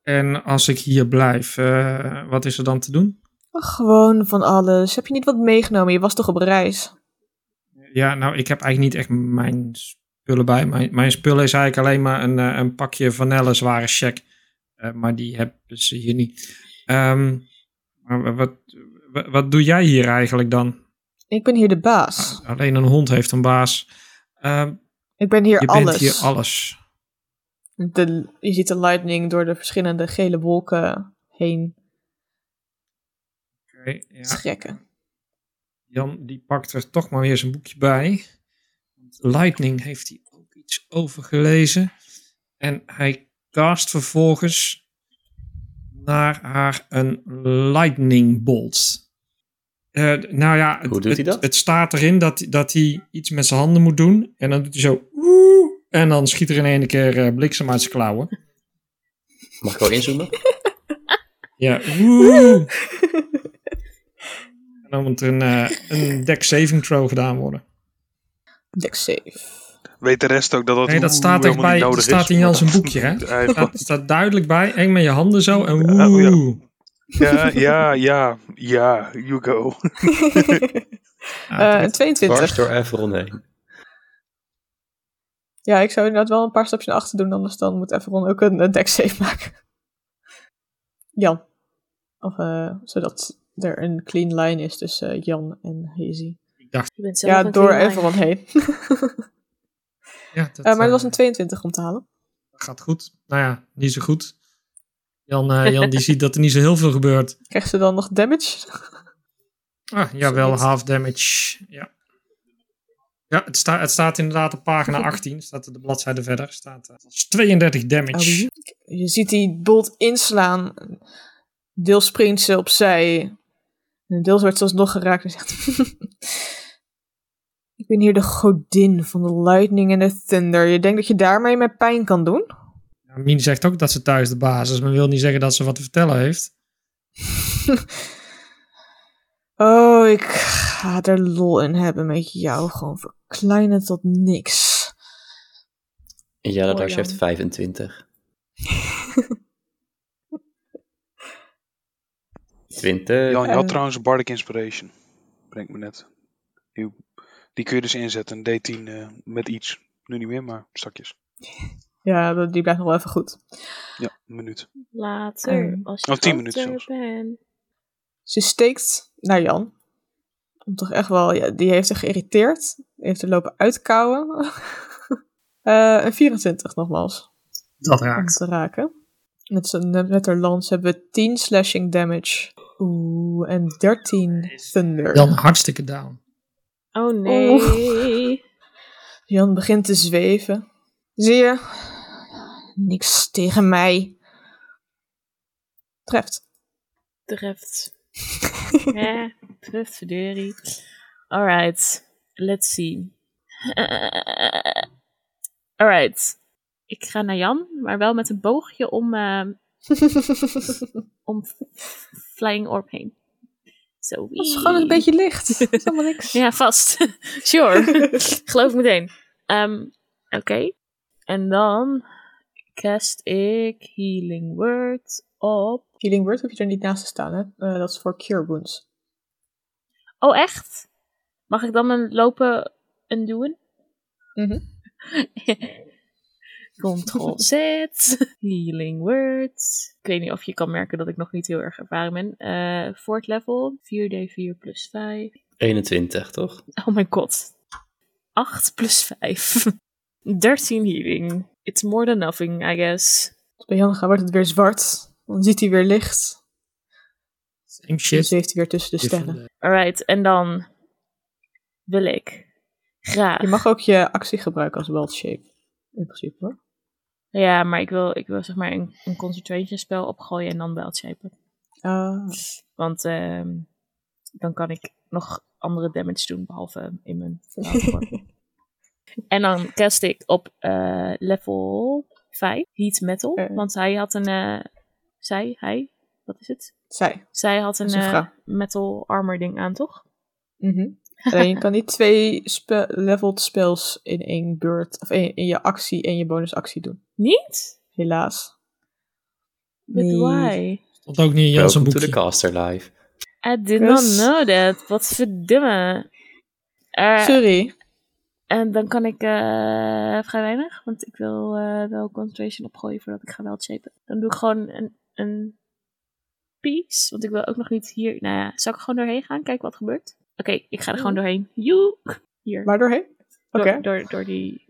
En als ik hier blijf, eh, wat is er dan te doen?
Gewoon van alles. Heb je niet wat meegenomen? Je was toch op reis?
Ja, nou, ik heb eigenlijk niet echt mijn spullen bij. Mijn, mijn spullen is eigenlijk alleen maar een, eh, een pakje vanille zware check. Eh, maar die hebben ze hier niet. Ehm, maar wa- wat, wa- wat doe jij hier eigenlijk dan?
Ik ben hier de baas.
Alleen een hond heeft een baas. Ehm,
Ik ben hier
je
alles.
bent hier alles.
De- je ziet de lightning door de verschillende gele wolken heen
Oké, ja.
trekken.
Jan die pakt er toch maar weer zijn boekje bij. Want Lightning heeft hij ook iets over gelezen. En hij cast vervolgens naar haar een Lightning Bolt. Eh, nou ja, het,
Hoe doet hij
het-
dat?
Het, staat erin dat, dat hij iets met zijn handen moet doen. En dan doet hij zo. "Woe!" en dan schiet er in één keer eh, bliksem uit zijn klauwen.
Mag ik wel inzoomen?
Ja. woe. en dan moet er een, eh, een deck saving throw gedaan worden.
Deck save.
Weet de rest ook dat dat
Nee, dat
hoe-
staat echt
helemaal
bij.
niet
Dat
nodig
staat
is.
in Jans een boekje, hè?
Hij-
Staat, staat duidelijk bij. Eng met je handen zo. En
Ja, oh ja.
woe.
ja, ja, ja, ja, you go.
Eh, een 22.
Dwars door Everon heen.
Ja, ik zou inderdaad wel een paar stapjes naar achter doen, anders dan moet Everon ook een eh, deck save maken. Jan. Of, eh, zodat er een clean line is tussen eh, Jan en Hazy.
Je bent zelf
Ja,
een
door
klein
Everon heen.
Ja, dat,
Eh, maar
eh,
het was een 22 om te halen.
gaat goed. Nou ja, niet zo goed. Jan, eh, Jan die ziet dat er niet zo heel veel gebeurt.
Krijgt ze dan nog damage?
Ah, jawel,
Zoiets.
half damage. Ja, ja het, sta, het staat inderdaad op pagina 18. Staat er de bladzijde verder. Staat, eh, dat is 32
Oh,
damage.
Je ziet die bolt inslaan. Deels springt ze opzij. En deels wordt ze alsnog geraakt en zegt... Ik ben hier de godin van de lightning en de thunder. Je denkt dat je daarmee mijn pijn kan doen?
Ja, Mien zegt ook dat ze thuis de basis is. Maar wil niet zeggen dat ze wat te vertellen heeft.
Oh, ik ga er lol in hebben met jou. Gewoon verkleinen tot niks.
En Jelle
Oh,
Dars heeft
Jan.
25. 20.
Jan, je had
Eh.
trouwens Bardic Inspiration. Brengt me net. Die, die kun je dus inzetten, een D10 eh, met iets. Nu niet meer, maar stakjes.
Ja, dat- die blijft nog wel even goed.
Ja, een minuut.
Later,
Ehm.
als je
Oh, tien
groter
minuten zelfs.
bent.
Ze steekt naar Jan. Om toch echt wel, ja, die heeft zich geïrriteerd. Die heeft er lopen uitkouwen. Eh, een 24 nogmaals.
Dat
Om
raakt.
te raken. Met, z'n- met haar lans hebben we 10 slashing damage. Oeh, en 13 thunder.
Jan hartstikke down.
Oh nee.
Jan begint te zweven. Zie je? Niks tegen mij. Treft.
Treft. ja, treft verdorie. Alright, let's see. Eh, alright. Ik ga naar Jan, maar wel met een boogje om, eh, om Flying Orb heen. Zo.
Dat is
wee.
gewoon een beetje licht. Dat is helemaal niks.
Ja, vast. sure. Geloof meteen. Ehm, Oké. En dan cast ik Healing Word op.
Healing Word hoef je er niet naast te staan, hè? Eh, dat is voor Cure Wounds.
Oh, echt? Mag ik dan mijn lopen en doen?
Mhm.
Control Z. Healing Words. Ik weet niet of je kan merken dat ik nog niet heel erg ervaren ben. Eh fourth level. 4d4 plus 5.
21, toch?
Oh my god. 8 plus 5. 13 healing. It's more than nothing, I guess.
Als bij Jan gaat, wordt het weer zwart. Dan ziet hij weer licht.
Same
Dan
shit.
zweeft hij weer tussen de sterren.
Alright, en dan wil ik graag.
Je mag ook je actie gebruiken als Wild Shape. In principe hoor.
Ja, maar ik wil, ik wil zeg maar een, een concentration spel opgooien en dan wel shapen.
Ah,
Want ehm, dan kan ik nog andere damage doen, behalve ehm, in mijn verlaten vorm. En dan cast ik op eh, level 5, Heat Metal.
Oké.
Want hij had een... eh, zij, hij, wat is het?
zij.
Zij had een
is een
eh,
vrouw.
metal armor ding aan, toch?
Mhm. Alleen je kan niet twee spe- leveled spells in één beurt, of in, in je actie en je bonusactie doen.
Niet?
Helaas.
But
Nee.
why?
Stond ook niet in Jans een
Welcome to the
boekje.
caster live.
I did
Kus.
not know that. Wat verdomme. Eh,
Sorry.
en dan kan ik eh, vrij weinig, want ik wil eh, wel concentration opgooien voordat ik ga wel shapen. Dan doe ik gewoon een, een piece, want ik wil ook nog niet hier. Nou ja, zal ik er gewoon doorheen gaan, kijken wat gebeurt? Oké, ik ga er gewoon doorheen. Joe! Hier,
Maar doorheen?
door,
Oké.
door, door die...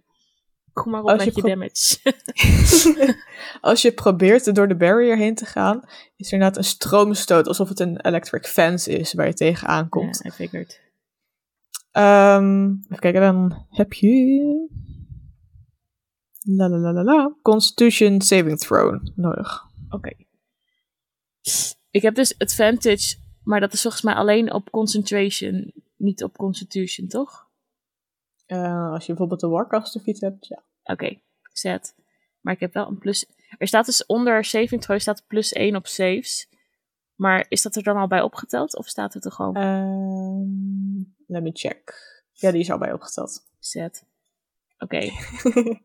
Kom maar op
Als je
met je
pro-
damage.
Als je probeert er door de barrier heen te gaan, is er inderdaad een stroomstoot, alsof het een electric fence is waar je tegenaan komt.
Ja, I figured.
Ehm, even kijken, dan heb je. La la la la la. Constitution Saving Throw nodig.
Oké. Ik heb dus advantage Maar dat is volgens mij alleen op concentration, niet op constitution, toch?
Eh, als je bijvoorbeeld de Warcaster fiets hebt, ja.
Oké, zet. Maar ik heb wel een plus. Er staat dus onder saving throw staat plus 1 op saves. Maar is dat er dan al bij opgeteld of staat het er gewoon
Ehm, let me check. Ja, die is al bij opgeteld.
zet? Oké.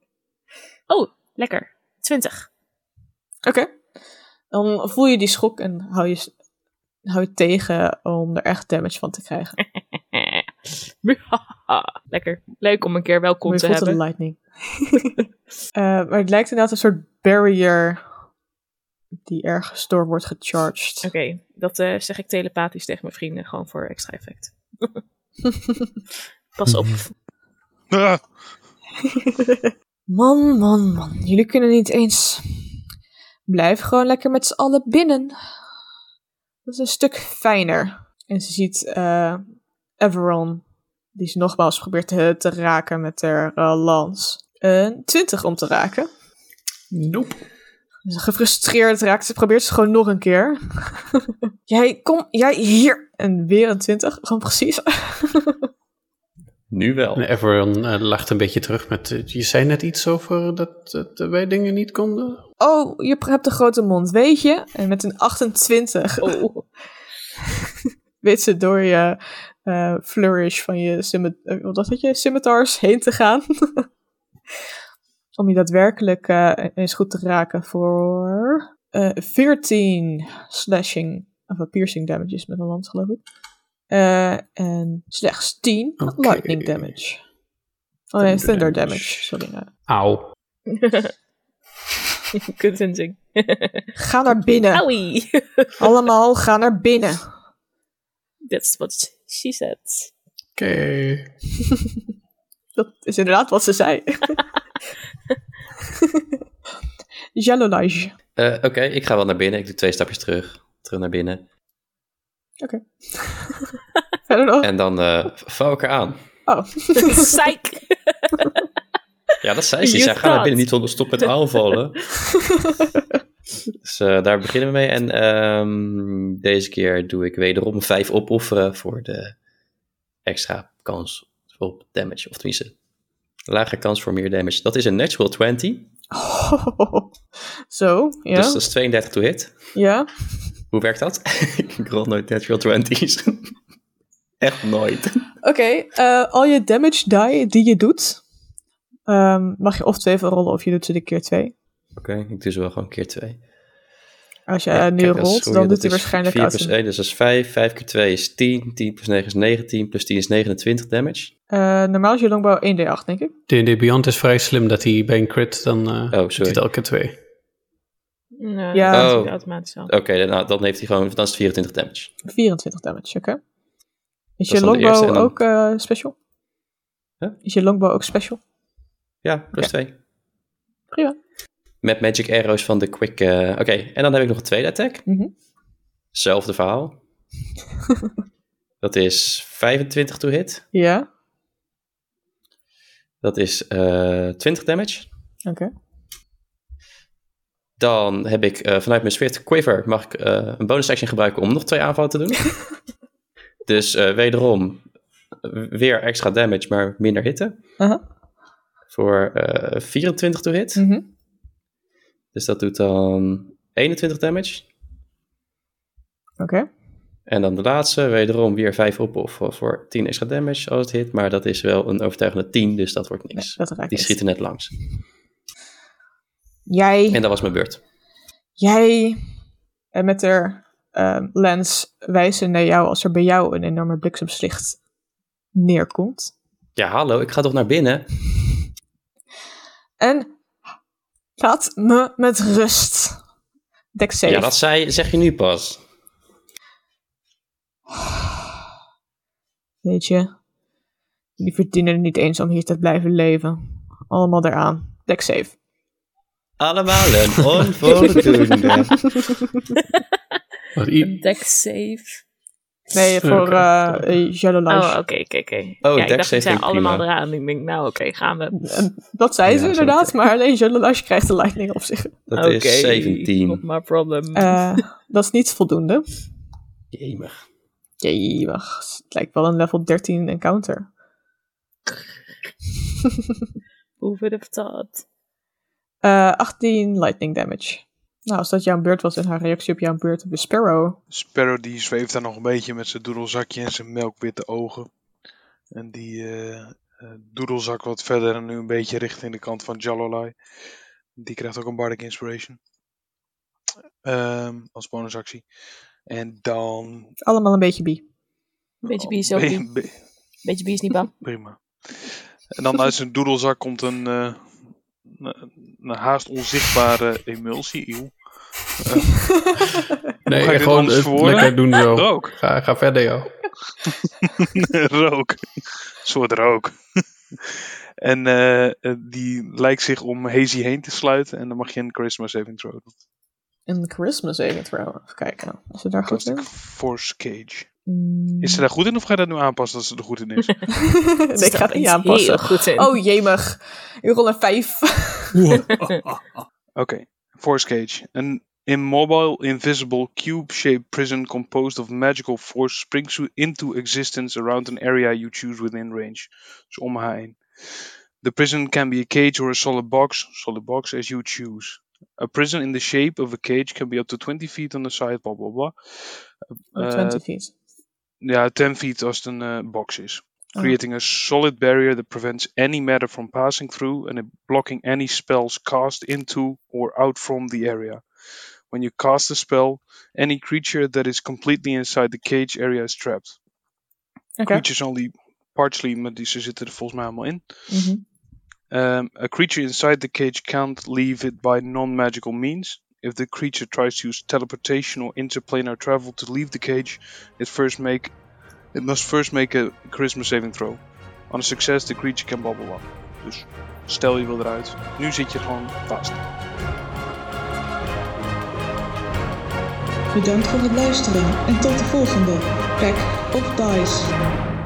oh, lekker. 20.
Oké. Dan voel je die schok en hou je, hou je tegen om er echt damage van te krijgen.
lekker. Leuk om een keer wel
Maar
kon
je
te
voelt de
hebben.
lightning. Eh, maar het lijkt inderdaad een soort barrier die ergens door wordt gecharged.
Oké, dat eh, zeg ik telepathisch tegen mijn vrienden, gewoon voor extra effect. Pas op.
Ah,
Man, man, man. Jullie kunnen niet eens. Blijf gewoon lekker met z'n allen binnen. Dat is een stuk fijner. En ze ziet eh Everon, die ze nogmaals probeert te, te raken met haar eh, lans. Een 20 om te raken.
Nope.
Dus gefrustreerd raakt ze, probeert ze gewoon nog een keer. jij, kom, jij hier. En weer een 20, gewoon precies.
Nu wel.
En Everon eh, lacht een beetje terug met... eh, je zei net iets over dat, dat wij dingen niet konden.
oh, je hebt een grote mond, weet je? En met een 28. Oh. weet ze door je eh, flourish van je, scimi- eh, wat was het, je scimitars heen te gaan. Om je daadwerkelijk eh, eens goed te raken voor eh 14 slashing, of wat piercing damages met een lans geloof ik. Eh, en slechts 10
Oké.
lightning damage. Oh nee,
Thunder
thunder
damage.
damage. Sorry. ja.
Auw.
Kunt een zing.
Ga naar binnen.
Owie!
Allemaal, ga naar binnen.
That's what she said.
Oké.
Dat is inderdaad wat ze zei. Jalolage.
Eh, Oké, ik ga wel naar binnen. Ik doe twee stapjes terug. Terug naar binnen.
Verder nog?
En dan eh val ik haar aan.
Oh.
Psych!
Ja, dat zei ze.
You
Ze zei, ga naar
thought.
binnen, niet onder stop met aanvallen. dus eh, daar beginnen we mee. En ehm, deze keer doe ik wederom vijf opofferen voor de extra kans op damage. Of tenminste, lage kans voor meer damage. Dat is een natural 20.
Zo, ja.
Dus dat is 32 to hit.
ja.
Hoe werkt dat? ik rol nooit natural 20's. Echt nooit.
Oké, eh, al je damage die die je doet, ehm, mag je of twee van rollen of je doet ze de keer twee.
Oké, ik doe ze wel gewoon keer 2.
Als je
Ja,
eh, nu
kijk, dat is-
rolt,
oei,
dan
dat
doet
is
hij waarschijnlijk
4
uit.
plus
een-
1, dus dat is 5. 5 keer 2 is 10. 10 plus 9 is 19. Plus 10 is 29 damage.
Eh, normaal is je longbow 1d8, denk ik.
D&D Beyond is vrij slim dat hij bij een crit dan... eh
sorry.
doet hij het elke keer twee.
Nee,
Ja.
dat
Oh.
doet automatisch al.
Oké, dan- nou, dan heeft hij gewoon... Dan is het 24 damage.
24 damage, oké. Is
Dat is
je
dan de eerste
longbow
en dan-
ook eh, special?
Huh?
Is je longbow ook special?
Ja, plus 2.
Prima.
Met magic arrows van de quick... eh, Oké, en dan heb ik nog een tweede attack.
Mhm.
Zelfde verhaal. dat is 25 to hit.
Ja,
Dat is eh 20 damage.
oké.
Dan heb ik eh, vanuit mijn Swift Quiver mag ik eh, een bonus action gebruiken om nog twee aanvallen te doen. dus eh, wederom eh, weer extra damage, maar minder hitte.
Aha.
Voor eh 24 to hit.
Mhm.
Dus dat doet dan 21 damage.
Oké.
En dan de laatste, wederom weer 5 op of voor 10 extra damage als het hit. Maar dat is wel een overtuigende 10, dus dat wordt
Nee,
niks.
dat raakt
Die
niet.
schieten net langs.
Jij,
En dat was mijn beurt.
jij en met haar ehm, lens wijzen naar jou als er bij jou een enorme bliksemslicht neerkomt.
Ja, hallo, ik ga toch naar binnen?
En laat me met rust. Deck safe.
Ja, dat zei, zeg je nu pas.
Weet je, jullie verdienen het niet eens om hier te blijven leven. Allemaal eraan. Deck safe.
Allemaal een onvoldoende.
Want i-
Deck save.
Nee, voor
Oké,
eh eh,
Oh, oké,
Jalolage.
oké, oké. Ja, ik
Oh, deck
dacht,
save
ze zijn
vind ik
allemaal
prima.
eraan. Ik denk, nou oké, gaan we.
En Dat zei
Ja,
ze
zo.
inderdaad, maar alleen Jalolage krijgt de lightning op zich.
Dat
Oké,
is
Not
17.
my problem.
Eh, dat is niet voldoende.
Jemig.
Jee, wacht. Het lijkt wel een level 13 encounter.
Over de dat?
Eh 18 lightning damage. Nou, als dat jouw beurt was en haar reactie op jouw beurt op de Sparrow.
Sparrow die zweeft daar nog een beetje met zijn doedelzakje en zijn melkwitte ogen. En die eh, eh, doedelzak wat verder en nu een beetje richting de kant van Jalolai. Die krijgt ook een Bardic Inspiration. Ehm, als bonusactie. En dan...
Allemaal een beetje bi.
Beetje bier is ook
Be-
niet.
be-
Beetje bier is niet bang.
Prima. En dan uit zijn doedelzak komt een, eh, een, een haast onzichtbare emulsie. Eeuw.
Nee,
Hoe ga ik dit
gewoon
anders
eh,
verwoorden?
lekker doen zo.
Rook.
Ga, ga verder, joh.
rook. Een soort rook. en eh, eh, die lijkt zich om Hazy heen te sluiten. En dan mag je een Charisma Saving Throw doen.
Een charisma saving throw. Even kijken. Is Nou, ze daar goed
Plastic
in?
Force Cage.
Mm.
Is ze daar goed in of ga je dat nu aanpassen dat ze er goed in is?
nee, ik ga het niet aanpassen.
Heel goed in.
Oh, jemig. Ik rol een 5.
Oké, Force Cage. An immobile, invisible, cube shaped prison composed of magical force springs you into existence around an area you choose within range. Dus om haar heen. The prison can be a cage or a solid box, solid box as you choose. A prison in the shape of a cage can be up to 20 feet on the side, blah blah blah. Eh,
20 feet.
ja, 10 feet als het een eh, box is.
Oh.
Creating a solid barrier that prevents any matter from passing through and blocking any spells cast into or out from the area. When you cast a spell, any creature that is completely inside the cage area is trapped.
Oké.
Creatures only partially, maar die ze zitten er volgens mij allemaal in.
Mhm.
Um, a creature inside the cage can't leave it by non magical means. If the creature tries to use teleportation or interplanar travel to leave the cage, it first make it must first make a charisma saving throw. On a success, the creature can bubble up. Dus stel je wil eruit. Nu zit je gewoon vast.
Bedankt voor het luisteren en tot de volgende Pack of Dice.